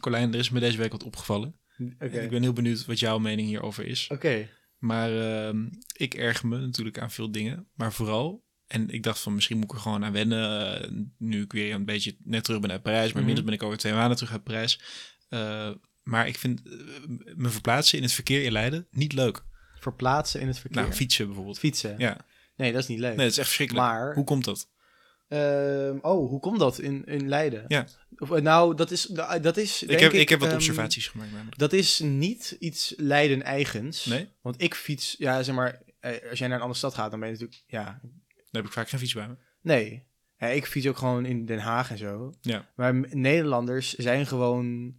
Speaker 2: Colijn, er is me deze week wat opgevallen.
Speaker 1: Oké.
Speaker 2: En Ik ben heel benieuwd wat jouw mening hierover is.
Speaker 1: Oké.
Speaker 2: Maar ehm, ik erger me natuurlijk aan veel dingen. Maar vooral, en ik dacht van misschien moet ik er gewoon aan wennen. eh, nu ik weer een beetje net terug ben uit Parijs. Maar inmiddels
Speaker 1: Mhm.
Speaker 2: ben ik over twee maanden terug uit Parijs. Eh, maar ik vind eh, me verplaatsen in het verkeer in Leiden niet leuk.
Speaker 1: Verplaatsen in het verkeer.
Speaker 2: Nou, fietsen bijvoorbeeld.
Speaker 1: Fietsen.
Speaker 2: Ja,
Speaker 1: Nee, dat is niet leuk.
Speaker 2: nee, dat is echt verschrikkelijk.
Speaker 1: Maar-
Speaker 2: Hoe komt dat?
Speaker 1: Ehm, oh, hoe komt dat in, in Leiden?
Speaker 2: Ja.
Speaker 1: Of, eh, nou, dat is, da- dat is
Speaker 2: Ik
Speaker 1: denk
Speaker 2: heb, ik, heb wat
Speaker 1: ehm,
Speaker 2: observaties gemaakt. namelijk.
Speaker 1: Dat is niet iets Leiden-eigens.
Speaker 2: Nee,
Speaker 1: Want ik fiets, ja, zeg maar, eh, als jij naar een andere stad gaat, dan ben je natuurlijk, ja,
Speaker 2: dan heb ik vaak geen fiets bij me.
Speaker 1: nee. Hè, ik fiets ook gewoon in Den Haag en zo.
Speaker 2: Ja.
Speaker 1: Maar M- Nederlanders zijn gewoon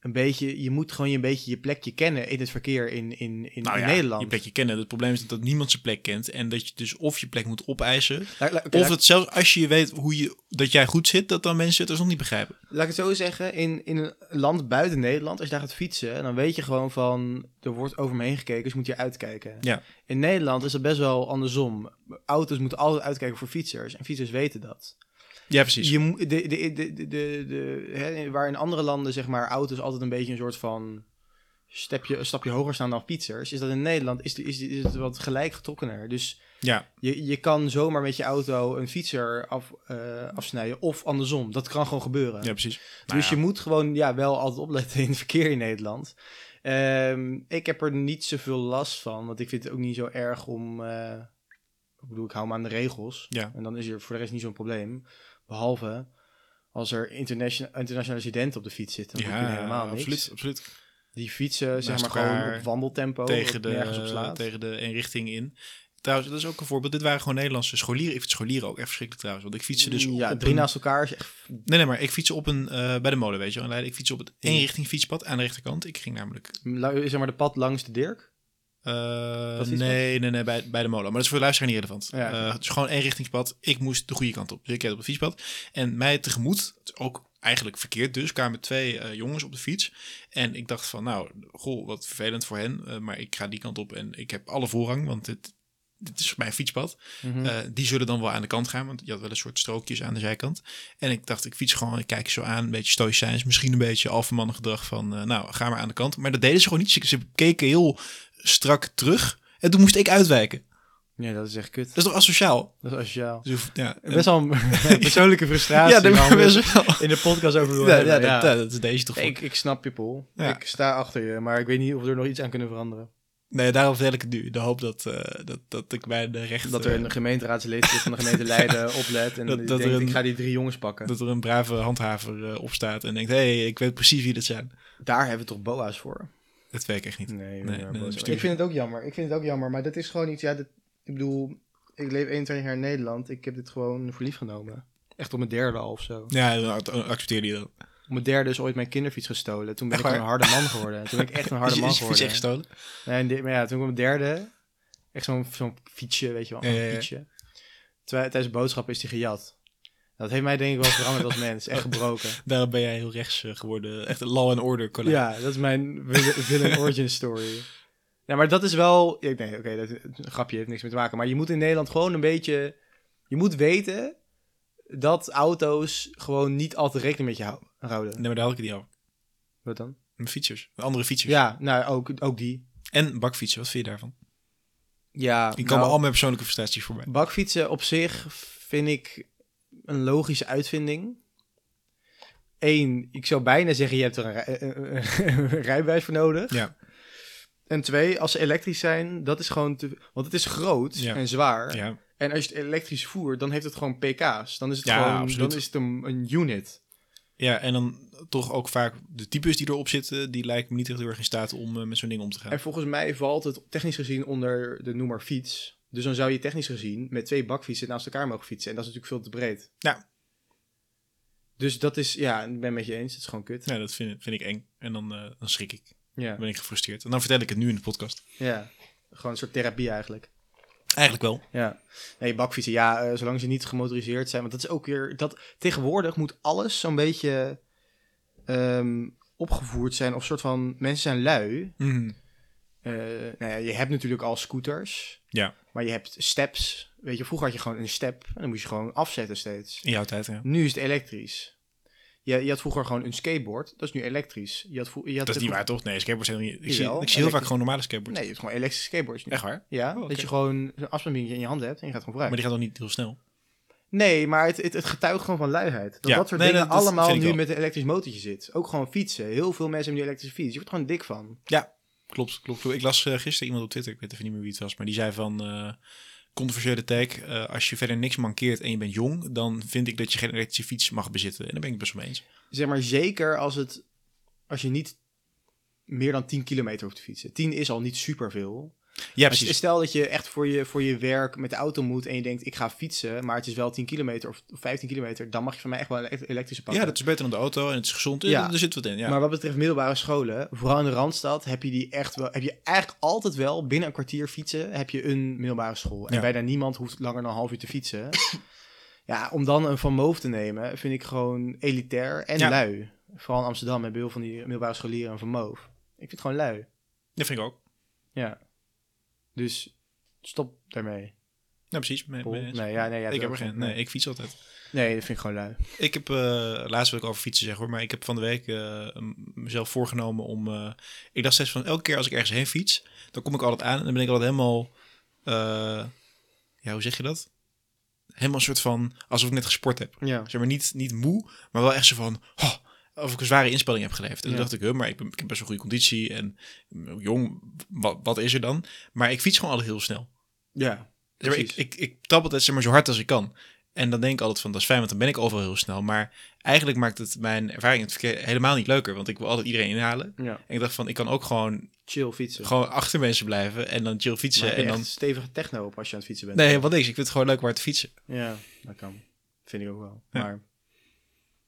Speaker 1: een beetje, je moet gewoon je een beetje je plekje kennen in het verkeer in, in, in,
Speaker 2: Nou
Speaker 1: in
Speaker 2: ja,
Speaker 1: Nederland.
Speaker 2: je plekje kennen. Het probleem is dat, dat niemand zijn plek kent. En dat je dus of je plek moet opeisen...
Speaker 1: La- la- oké,
Speaker 2: Of
Speaker 1: la-
Speaker 2: het zelfs als je weet hoe je, dat jij goed zit, dat dan mensen het alsnog niet begrijpen.
Speaker 1: Laat ik het zo zeggen, in, in een land buiten Nederland, als je daar gaat fietsen, dan weet je gewoon van, er wordt over me heen gekeken, dus moet je uitkijken.
Speaker 2: Ja.
Speaker 1: In Nederland is dat best wel andersom. Auto's moeten altijd uitkijken voor fietsers en fietsers weten dat.
Speaker 2: Ja, precies.
Speaker 1: Je, moet- de, de, de, de, de, de- hè, waar in andere landen, zeg maar, auto's altijd een beetje een soort van stapje, een stapje hoger staan dan fietsers, is dat in Nederland is, die- is, die- is het wat gelijk getrokkener. Dus
Speaker 2: Ja,
Speaker 1: je, je kan zomaar met je auto een fietser af, eh, afsnijden of andersom. Dat kan gewoon gebeuren.
Speaker 2: ja precies. Nou
Speaker 1: dus
Speaker 2: ja.
Speaker 1: je moet gewoon ja, wel altijd opletten in het verkeer in Nederland. Ehm, ik heb er niet zoveel last van, want ik vind het ook niet zo erg om. eh, ik bedoel, ik hou me aan de regels.
Speaker 2: Ja.
Speaker 1: En dan is er voor de rest niet zo'n probleem. Behalve als er internation- internationale studenten op de fiets zitten. Dan ja,
Speaker 2: ja,
Speaker 1: helemaal niks. Oh,
Speaker 2: absoluut, absoluut.
Speaker 1: Die fietsen, zeg
Speaker 2: Naast
Speaker 1: maar, gewoon
Speaker 2: elkaar,
Speaker 1: op wandeltempo.
Speaker 2: Tegen
Speaker 1: wat
Speaker 2: de,
Speaker 1: nergens op slaat.
Speaker 2: tegen de eenrichting in. Trouwens, dat is ook een voorbeeld. Dit waren gewoon Nederlandse scholieren. Ik vind scholieren ook echt verschrikkelijk trouwens. Want ik fietsen dus op,
Speaker 1: Mm, ja,
Speaker 2: op
Speaker 1: drie
Speaker 2: een-
Speaker 1: naast elkaar is echt
Speaker 2: Nee, nee, maar ik fiets op een, eh, bij de molen, weet je wel. in Leiden. Ik fiets op het eenrichting fietspad aan de rechterkant. Ik ging namelijk...
Speaker 1: lu- zeg maar de pad langs de Dirk.
Speaker 2: eh,
Speaker 1: Dat is iets
Speaker 2: nee, nee, nee, bij, bij de molen. Maar dat is voor de luisteraar niet relevant.
Speaker 1: Ja.
Speaker 2: Eh, het is gewoon eenrichtingspad. Ik moest de goede kant op. Dus ik reed op het fietspad. En mij tegemoet, het is ook eigenlijk verkeerd dus, kwamen twee eh, jongens op de fiets. En ik dacht van, nou, goh, wat vervelend voor hen. eh, maar ik ga die kant op en ik heb alle voorrang, want dit, dit is mijn fietspad. Eh, die zullen dan wel aan de kant gaan, want je had wel een soort strookjes aan de zijkant. En ik dacht, ik fiets gewoon, ik kijk ze zo aan, een beetje stoïcijns, misschien een beetje alfamannengedrag van, eh, nou, ga maar aan de kant. Maar dat deden ze gewoon niet. Ze, ze keken heel strak terug en toen moest ik uitwijken.
Speaker 1: Ja, dat is echt kut.
Speaker 2: Dat is toch asociaal?
Speaker 1: Dat is asociaal.
Speaker 2: Dus, ja,
Speaker 1: Best wel een persoonlijke frustratie.
Speaker 2: ja, dat
Speaker 1: waar we
Speaker 2: best wel.
Speaker 1: In de podcast over willen
Speaker 2: Ja, ja,
Speaker 1: hebben,
Speaker 2: dat,
Speaker 1: ja.
Speaker 2: ja, dat is deze toch
Speaker 1: Nee,
Speaker 2: ook.
Speaker 1: Ik, ik snap je, Paul.
Speaker 2: Ja.
Speaker 1: Ik sta achter je, maar ik weet niet of we er nog iets aan kunnen veranderen.
Speaker 2: Nee, daarom vertel ik het nu. De hoop dat, eh, dat, dat ik bij de rechter...
Speaker 1: Dat er een gemeenteraadslid is van de gemeente Leiden oplet en
Speaker 2: Dat-
Speaker 1: die
Speaker 2: dat er
Speaker 1: denkt,
Speaker 2: een-
Speaker 1: ik ga die drie jongens pakken.
Speaker 2: dat er een brave handhaver eh, opstaat en denkt... hé, hey, ik weet precies wie dat zijn.
Speaker 1: Daar hebben we toch boa's voor?
Speaker 2: Dat weet ik echt niet.
Speaker 1: Nee,
Speaker 2: nee, nee, bestuur.
Speaker 1: ik vind het ook jammer. Ik vind het ook jammer, maar dat is gewoon iets, ja, dat, ik bedoel, ik leef 21 jaar in Nederland. Ik heb dit gewoon voor lief genomen. Echt op mijn derde al of zo.
Speaker 2: Ja, dan ac- accepteer je dat.
Speaker 1: Op mijn derde is ooit mijn kinderfiets gestolen. Toen ben
Speaker 2: Echt
Speaker 1: ik
Speaker 2: waar?
Speaker 1: een harde man geworden. Toen ben ik echt een harde
Speaker 2: Is-
Speaker 1: man
Speaker 2: is je fiets
Speaker 1: geworden.
Speaker 2: echt gestolen?
Speaker 1: Nee, en dit- maar ja, toen ik op mijn derde, echt zo'n zo'n fietsje, weet je wel,
Speaker 2: Ja, ja,
Speaker 1: een
Speaker 2: ja.
Speaker 1: fietsje. Terwijl- tijdens boodschappen is die gejat. Dat heeft mij denk ik wel veranderd als mens, echt gebroken.
Speaker 2: Daarom ben jij heel rechts eh, geworden. Echt een law and order collega.
Speaker 1: Ja, dat is mijn vil- villain origin story. Ja, maar dat is wel... ja, Nee, oké, dat een grapje heeft niks mee te maken. Maar je moet in Nederland gewoon een beetje... Je moet weten dat auto's gewoon niet altijd rekening met je hou- houden.
Speaker 2: Nee, maar daar had ik het niet over.
Speaker 1: Wat dan?
Speaker 2: Mijn fietsers. Mijn Andere fietsers.
Speaker 1: Ja, nou, ook, ook die.
Speaker 2: En bakfietsen. Wat vind je daarvan?
Speaker 1: Ja,
Speaker 2: Ik
Speaker 1: nou,
Speaker 2: komen al mijn persoonlijke frustraties voorbij.
Speaker 1: Bakfietsen op zich vind ik een logische uitvinding. Eén, ik zou bijna zeggen, je hebt er een, rij- een- een- een rijbewijs voor nodig.
Speaker 2: Ja.
Speaker 1: En twee, als ze elektrisch zijn, dat is gewoon te... Want het is groot
Speaker 2: Ja.
Speaker 1: en zwaar.
Speaker 2: Ja.
Speaker 1: En als je het elektrisch voert, dan heeft het gewoon pk's. Dan is het
Speaker 2: Ja,
Speaker 1: gewoon
Speaker 2: absoluut.
Speaker 1: dan is het een, een unit.
Speaker 2: ja, en dan toch ook vaak de types die erop zitten... die lijken me niet echt heel erg in staat om eh, met zo'n ding om te gaan.
Speaker 1: En volgens mij valt het technisch gezien onder de noemer fiets. Dus dan zou je technisch gezien met twee bakfietsen naast elkaar mogen fietsen. En dat is natuurlijk veel te breed.
Speaker 2: Ja.
Speaker 1: Dus dat is, ja, ik ben het met je eens. Het is gewoon kut.
Speaker 2: Ja, dat vind, vind ik eng. En dan, eh, dan schrik ik.
Speaker 1: Ja.
Speaker 2: Dan ben ik gefrustreerd. En dan vertel ik het nu in de podcast.
Speaker 1: Ja, gewoon een soort therapie eigenlijk.
Speaker 2: Eigenlijk wel.
Speaker 1: Ja. Nee, bakfietsen, ja, eh, zolang ze niet gemotoriseerd zijn. Want dat is ook weer, dat, tegenwoordig moet alles zo'n beetje ehm, opgevoerd zijn. Of soort van, mensen zijn lui. Eh, nou ja, je hebt natuurlijk al scooters.
Speaker 2: Ja.
Speaker 1: Maar je hebt steps. Weet je, vroeger had je gewoon een step. En dan moest je gewoon afzetten steeds.
Speaker 2: In jouw tijd, ja.
Speaker 1: Nu is het elektrisch. Je, je had vroeger gewoon een skateboard. Dat is nu elektrisch. Je had vro- je had
Speaker 2: Dat is niet waar, toch? Nee, skateboards zijn niet... Ik zie,
Speaker 1: Jawel,
Speaker 2: ik zie heel vaak
Speaker 1: elektrisch.
Speaker 2: gewoon normale skateboards.
Speaker 1: Nee, je hebt gewoon elektrische skateboards nu.
Speaker 2: Echt waar?
Speaker 1: Ja,
Speaker 2: Oh,
Speaker 1: dat
Speaker 2: oké.
Speaker 1: je gewoon een afstandsbindje in je hand hebt en je gaat gewoon vooruit.
Speaker 2: Maar die gaat dan niet heel snel.
Speaker 1: Nee, maar het, het, het getuigt gewoon van luiheid. Dat
Speaker 2: Ja,
Speaker 1: dat soort
Speaker 2: nee,
Speaker 1: dingen
Speaker 2: dat- dat
Speaker 1: allemaal
Speaker 2: vind ik
Speaker 1: nu
Speaker 2: wel.
Speaker 1: met een elektrisch motortje zit. Ook gewoon fietsen. Heel veel mensen hebben nu een elektrische fiets. Je wordt er gewoon dik van.
Speaker 2: Ja, klopt. klopt, klopt. Ik las eh, gisteren iemand op Twitter, ik weet even niet meer wie het was, maar die zei van eh, controversiële tag, eh, als je verder niks mankeert en je bent jong, dan vind ik dat je geen elektrische fiets mag bezitten. En daar ben ik het best wel mee eens.
Speaker 1: Zeg maar zeker als, het, als je niet meer dan 10 kilometer hoeft te fietsen. 10 is al niet superveel.
Speaker 2: Ja,
Speaker 1: Als je-
Speaker 2: precies.
Speaker 1: Stel dat je echt voor je, voor je werk met de auto moet en je denkt ik ga fietsen, maar het is wel 10 kilometer of 15 kilometer. Dan mag je van mij echt wel een elekt- elektrische pakken.
Speaker 2: Ja, dat is beter dan de auto en het is gezond.
Speaker 1: Ja.
Speaker 2: Ja. Er zit wat in, ja.
Speaker 1: Maar wat betreft middelbare scholen, vooral in de Randstad, heb je die echt wel. Heb je eigenlijk altijd wel binnen een kwartier fietsen, heb je een middelbare school. En
Speaker 2: Ja.
Speaker 1: bijna niemand hoeft langer dan een half uur te fietsen. ja, om dan een van moof te nemen, vind ik gewoon elitair en
Speaker 2: Ja.
Speaker 1: lui. Vooral in Amsterdam hebben heel veel van die middelbare scholieren een van moof. Ik vind het gewoon lui.
Speaker 2: Dat vind ik ook.
Speaker 1: Ja. Dus stop daarmee.
Speaker 2: precies. Me-
Speaker 1: Pol?
Speaker 2: me eens.
Speaker 1: Nee, ja, nee, ja, dat
Speaker 2: ik heb
Speaker 1: ook
Speaker 2: er geen.
Speaker 1: geen,
Speaker 2: Nee, ik fiets altijd.
Speaker 1: Nee, dat vind ik gewoon lui.
Speaker 2: Ik heb, eh laatst wil ik over fietsen zeggen hoor, maar ik heb van de week eh, m- mezelf voorgenomen om... eh, ik dacht steeds van, elke keer als ik ergens heen fiets, dan kom ik altijd aan en dan ben ik altijd helemaal... eh, ja, hoe zeg je dat? Helemaal een soort van, alsof ik net gesport heb.
Speaker 1: Ja.
Speaker 2: Zeg maar niet, niet moe, maar wel echt zo van... "Oh, of ik een zware inspanning heb geleverd. En
Speaker 1: Ja.
Speaker 2: toen dacht ik, huh, maar ik, ben, ik heb best wel goede conditie en mm, jong, wat, wat is er dan? Maar ik fiets gewoon altijd heel snel.
Speaker 1: Ja.
Speaker 2: Zeg maar, ik,
Speaker 1: Precies.
Speaker 2: ik, ik trap altijd zeg maar, zo hard als ik kan. En dan denk ik altijd van, dat is fijn, want dan ben ik overal heel snel. Maar eigenlijk maakt het mijn ervaring in het verkeer helemaal niet leuker. Want ik wil altijd iedereen inhalen.
Speaker 1: ja.
Speaker 2: En ik dacht van, ik kan ook gewoon,
Speaker 1: Chill fietsen.
Speaker 2: gewoon achter mensen blijven en dan chill fietsen.
Speaker 1: Maar heb
Speaker 2: en
Speaker 1: je
Speaker 2: dan...
Speaker 1: echt stevige techno op als je aan het fietsen bent.
Speaker 2: Nee, helemaal niks. Ik vind het gewoon leuk waar te fietsen.
Speaker 1: Ja, dat kan. Vind ik ook wel.
Speaker 2: Ja.
Speaker 1: Maar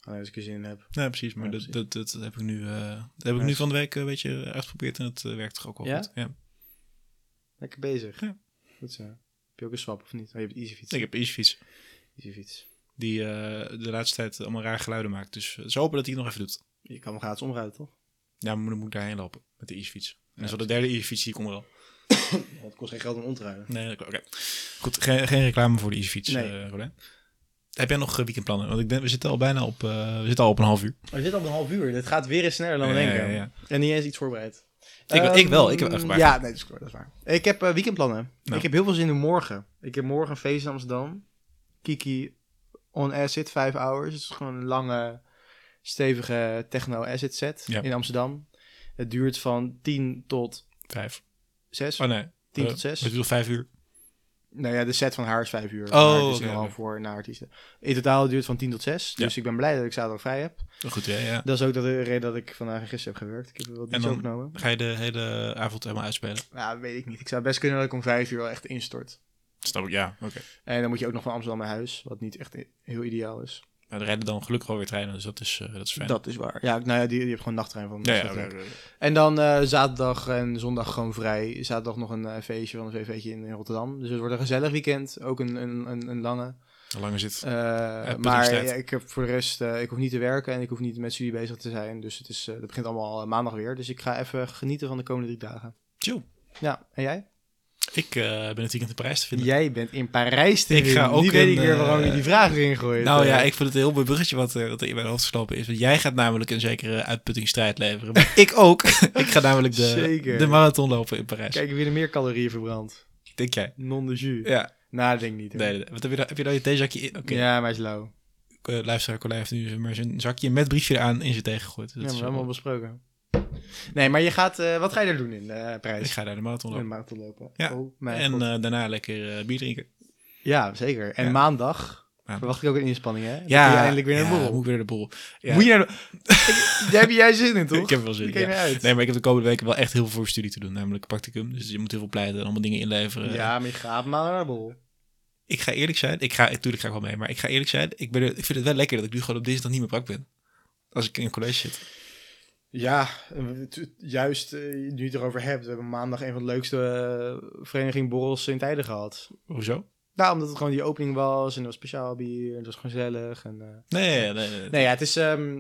Speaker 1: alleen als ik er zin in heb.
Speaker 2: Nee, precies. Maar
Speaker 1: Ja,
Speaker 2: dat,
Speaker 1: precies.
Speaker 2: dat, dat, heb ik nu, eh, dat heb ik nu
Speaker 1: Nice.
Speaker 2: van de week eh, een beetje uitgeprobeerd. En het eh, werkt toch ook wel
Speaker 1: Ja?
Speaker 2: goed. Ja.
Speaker 1: Lekker bezig.
Speaker 2: Ja.
Speaker 1: Goed zo. Heb je ook een swap of niet? Oh, je hebt easy fiets.
Speaker 2: Ik heb een fiets
Speaker 1: Easy fiets.
Speaker 2: die eh, de laatste tijd allemaal raar geluiden maakt. Dus eh, ze hopen dat hij het nog even doet.
Speaker 1: Je kan hem gratis omruilen, toch?
Speaker 2: Ja, mijn moeder moet daarheen lopen met de e-fiets. En dat is wel de derde e-fiets die ik om wil.
Speaker 1: Ja, het kost geen geld om om te ruilen.
Speaker 2: Nee, dat- oké. Goed, geen, geen reclame voor de e-fiets,
Speaker 1: Nee.
Speaker 2: eh, Rolijn. Heb jij nog eh, weekendplannen? Want ik denk, we zitten al bijna op, eh, we zitten al op een half uur.
Speaker 1: Maar dit al een half uur. Dit gaat weer eens sneller dan we
Speaker 2: Ja,
Speaker 1: denken.
Speaker 2: ja, ja.
Speaker 1: En niet eens iets voorbereid.
Speaker 2: Ik-
Speaker 1: Ehm,
Speaker 2: ik wel, ik heb echt waar.
Speaker 1: Ja, nee, dat is, dat is waar. Ik heb eh, weekendplannen.
Speaker 2: Nou.
Speaker 1: Ik heb heel veel zin in morgen. Ik heb morgen een feest in Amsterdam. Kiki on acid, 5 hours. Het is gewoon een lange, stevige techno acid set
Speaker 2: Ja.
Speaker 1: in Amsterdam. Het duurt van 10 tot
Speaker 2: Vijf.
Speaker 1: 6.
Speaker 2: Oh nee.
Speaker 1: 10
Speaker 2: Eh,
Speaker 1: tot 6.
Speaker 2: Ik bedoel vijf uur.
Speaker 1: Nou ja, de set van haar is vijf uur.
Speaker 2: Oh,
Speaker 1: maar het is
Speaker 2: oké,
Speaker 1: nogal
Speaker 2: oké.
Speaker 1: voor naar artiesten. In totaal duurt het van 10 tot 6.
Speaker 2: Ja.
Speaker 1: Dus ik ben blij dat ik zaterdag vrij heb.
Speaker 2: Goed, ja, ja.
Speaker 1: Dat is ook de reden dat ik vandaag en gisteren heb gewerkt. Ik heb wel
Speaker 2: En
Speaker 1: niet
Speaker 2: dan-
Speaker 1: opgenomen.
Speaker 2: Ga je de hele avond helemaal uitspelen?
Speaker 1: Nou, weet ik niet. Ik zou best kunnen dat ik om vijf uur wel echt instort.
Speaker 2: Snap ik, ja. Oké.
Speaker 1: En dan moet je ook nog van Amsterdam naar huis, wat niet echt i- heel ideaal is.
Speaker 2: Maar Nou, er rijden dan gelukkig alweer treinen, dus dat is, eh, dat is fijn.
Speaker 1: Dat is waar. Ja, nou ja, die, die hebt gewoon nachttrein van.
Speaker 2: ja,
Speaker 1: dus
Speaker 2: ja,
Speaker 1: dat
Speaker 2: oké,
Speaker 1: werkt.
Speaker 2: oké, oké.
Speaker 1: En dan eh, zaterdag en zondag gewoon vrij. Zaterdag nog een eh, feestje van een VV'tje in, in Rotterdam. Dus het wordt een gezellig weekend. Ook een, een, een, een lange.
Speaker 2: Hoe lang is het?
Speaker 1: Eh, maar
Speaker 2: puddingstijd.
Speaker 1: ja, ik heb voor de rest, eh, ik hoef niet te werken en ik hoef niet met studie bezig te zijn. Dus het is, eh, dat begint allemaal eh, maandag weer. Dus ik ga even genieten van de komende drie dagen.
Speaker 2: Chill.
Speaker 1: Ja, en jij?
Speaker 2: Ik eh, ben het weekend in Parijs te vinden.
Speaker 1: Jij bent in Parijs te
Speaker 2: Ik
Speaker 1: vinden.
Speaker 2: ga ook
Speaker 1: Nu weet
Speaker 2: een,
Speaker 1: ik weer
Speaker 2: eh,
Speaker 1: waarom je die vraag erin gooit.
Speaker 2: Nou ja,
Speaker 1: Eh,
Speaker 2: ik vind het een heel mooi bruggetje wat, eh, wat in mijn hoofd geslopen is. Want jij gaat namelijk een zekere uitputtingsstrijd leveren. Maar ik ook. ik ga namelijk de,
Speaker 1: Zeker.
Speaker 2: de marathon lopen in Parijs.
Speaker 1: Kijk, wie er meer calorieën verbrandt.
Speaker 2: Denk jij?
Speaker 1: Non de jus.
Speaker 2: Ja.
Speaker 1: Nou, dat denk ik niet. hoor.
Speaker 2: Nee, nee, nee. Wat heb je dan? Heb je dan je theezakje in? Oké.
Speaker 1: Ja, maar hij is lauw.
Speaker 2: Eh, luisteraar Colijn heeft nu maar zijn zakje met briefje eraan in zijn tegen gegooid.
Speaker 1: Ja,
Speaker 2: Dus dat
Speaker 1: maar
Speaker 2: is
Speaker 1: we hebben
Speaker 2: wel-
Speaker 1: allemaal besproken. Nee, maar je gaat... eh, wat ga je er doen in eh
Speaker 2: Ik
Speaker 1: Parijs?
Speaker 2: ga daar de marathon
Speaker 1: Een
Speaker 2: lopen.
Speaker 1: marathon lopen.
Speaker 2: Ja,
Speaker 1: Oh, mijn
Speaker 2: en
Speaker 1: god.
Speaker 2: eh, daarna lekker eh, bier drinken.
Speaker 1: ja, zeker. En
Speaker 2: ja.
Speaker 1: maandag
Speaker 2: Maandag.
Speaker 1: verwacht ik ook een inspanning, hè? Dan kun je eindelijk weer naar de
Speaker 2: ja,
Speaker 1: borrel.
Speaker 2: moet ik weer naar de borrel. Ja.
Speaker 1: Moet je naar de... Ik- Daar heb jij zin in, toch?
Speaker 2: Ik heb wel zin.
Speaker 1: Die ken je
Speaker 2: ja.
Speaker 1: uit.
Speaker 2: Nee, maar ik heb de komende weken wel echt heel veel voor studie te doen. Namelijk practicum. Dus je moet heel veel pleiten en allemaal dingen inleveren.
Speaker 1: Ja, maar je gaat maandag naar de borrel.
Speaker 2: ik ga eerlijk zijn. Ik ga, natuurlijk ga ik wel mee, maar ik ga eerlijk zijn. Ik, ben er- ik vind het wel lekker dat ik nu gewoon op dinsdag niet meer brak ben. Als ik in college zit.
Speaker 1: Ja, en t- juist eh, nu je het erover hebt. We hebben maandag een van de leukste eh, vereniging borrels in tijden gehad.
Speaker 2: Hoezo?
Speaker 1: Nou, omdat het gewoon die opening was en er was speciaal bier en het was gewoon gezellig. En, eh,
Speaker 2: Nee, nee, nee. nee.
Speaker 1: Nee, ja, het is... ehm,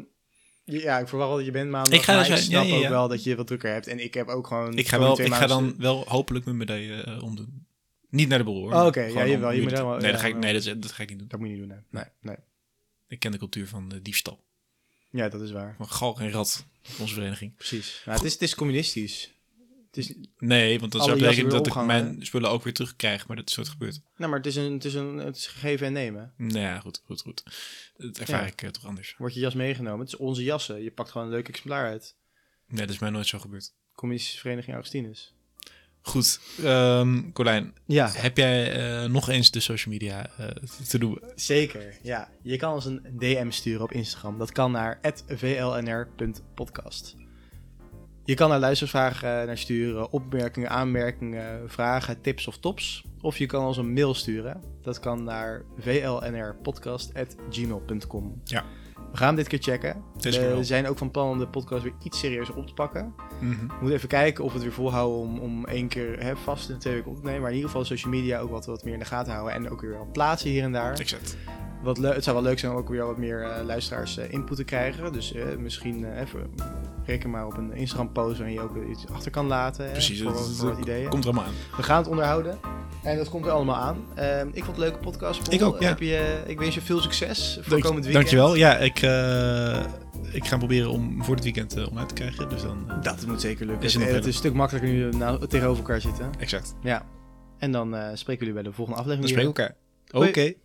Speaker 1: je- ja, ik verwacht wel dat je bent maandag,
Speaker 2: Ik ga
Speaker 1: maar
Speaker 2: dus
Speaker 1: ik
Speaker 2: wel- ja,
Speaker 1: snap
Speaker 2: ja, ja.
Speaker 1: ook wel dat je wat drukker hebt. En ik heb ook gewoon...
Speaker 2: ik ga,
Speaker 1: komende
Speaker 2: wel,
Speaker 1: twee
Speaker 2: ik ga
Speaker 1: maanden-
Speaker 2: dan wel hopelijk mijn medaille eh, omdoen. Niet naar de borrel. hoor,
Speaker 1: Oh,
Speaker 2: maar
Speaker 1: oké.
Speaker 2: gewoon
Speaker 1: Ja,
Speaker 2: om
Speaker 1: jawel, je
Speaker 2: jullie
Speaker 1: medaille
Speaker 2: te-
Speaker 1: wel-
Speaker 2: Nee,
Speaker 1: ja,
Speaker 2: dat ga, ik,
Speaker 1: wel.
Speaker 2: nee dat, is- dat ga ik niet doen.
Speaker 1: Dat moet je niet doen, hè. Nee, nee.
Speaker 2: Ik ken de cultuur van eh, diefstal.
Speaker 1: Ja, dat is waar.
Speaker 2: Van galg en rat. Onze vereniging.
Speaker 1: Precies. Nou, het, is, het is communistisch. Het is,
Speaker 2: Nee, want dat
Speaker 1: Alle
Speaker 2: zou
Speaker 1: jassen
Speaker 2: betekenen
Speaker 1: weer
Speaker 2: dat ik
Speaker 1: opgehangen,
Speaker 2: mijn spullen ook weer terugkrijg. Maar dat is nooit gebeurd.
Speaker 1: nou, maar het is, een, het, is een, het is gegeven en nemen.
Speaker 2: Nou ja, goed, goed, goed. Dat ervaar
Speaker 1: Ja.
Speaker 2: ik eh, toch anders.
Speaker 1: Wordt je jas meegenomen. Het is onze jassen. Je pakt gewoon een leuk exemplaar uit.
Speaker 2: Nee, dat is mij nooit zo gebeurd.
Speaker 1: Communistische Vereniging Augustinus.
Speaker 2: Goed, ehm, Colijn.
Speaker 1: Ja,
Speaker 2: Heb jij eh, nog eens de social media eh, te doen?
Speaker 1: zeker. Ja. Je kan ons een DM sturen op Instagram. Dat kan naar @vlnr.podcast. Je kan daar luistervragen eh, naar sturen, opmerkingen, aanmerkingen, vragen, tips of tops. Of je kan ons een mail sturen. Dat kan naar vlnrpodcast.gmail.com.
Speaker 2: Ja.
Speaker 1: We gaan hem dit keer checken.
Speaker 2: Deze keer wel.
Speaker 1: We zijn ook van plan om de podcast weer iets serieuzer op te pakken.
Speaker 2: Mhm.
Speaker 1: We moeten even kijken of we het weer volhouden om, om één keer hè, vast in de twee weken op te nemen. Maar in ieder geval social media ook wat, wat meer in de gaten houden. En ook weer wel plaatsen hier en daar.
Speaker 2: Ik zet.
Speaker 1: Wat leu- het zou wel leuk zijn om ook weer wat meer eh, luisteraars eh, input te krijgen. Dus eh, misschien eh, even reken maar op een Instagram post waarin je ook iets achter kan laten. hè,
Speaker 2: Precies,
Speaker 1: voor,
Speaker 2: dat-
Speaker 1: wat-
Speaker 2: dat-
Speaker 1: voor wat ideeën.
Speaker 2: Komt er allemaal aan.
Speaker 1: We gaan het onderhouden. En dat komt er allemaal aan. Ehm, ik vond het een leuke podcast. Paul.
Speaker 2: Ik ook, ja.
Speaker 1: Heb je, ik wens je veel succes voor
Speaker 2: Dank,
Speaker 1: komend weekend.
Speaker 2: dankjewel. Ja, ik, eh, ik ga proberen om voor het weekend eh, om uit te krijgen. Dus dan... eh,
Speaker 1: Dat moet zeker lukken.
Speaker 2: Is er
Speaker 1: het,
Speaker 2: nog
Speaker 1: het is een stuk makkelijker nu eh, nou, tegenover elkaar zitten.
Speaker 2: exact.
Speaker 1: Ja. En dan eh, spreken we jullie bij de volgende aflevering
Speaker 2: Dan
Speaker 1: weer.
Speaker 2: spreken we elkaar. Oké.
Speaker 1: Hoi.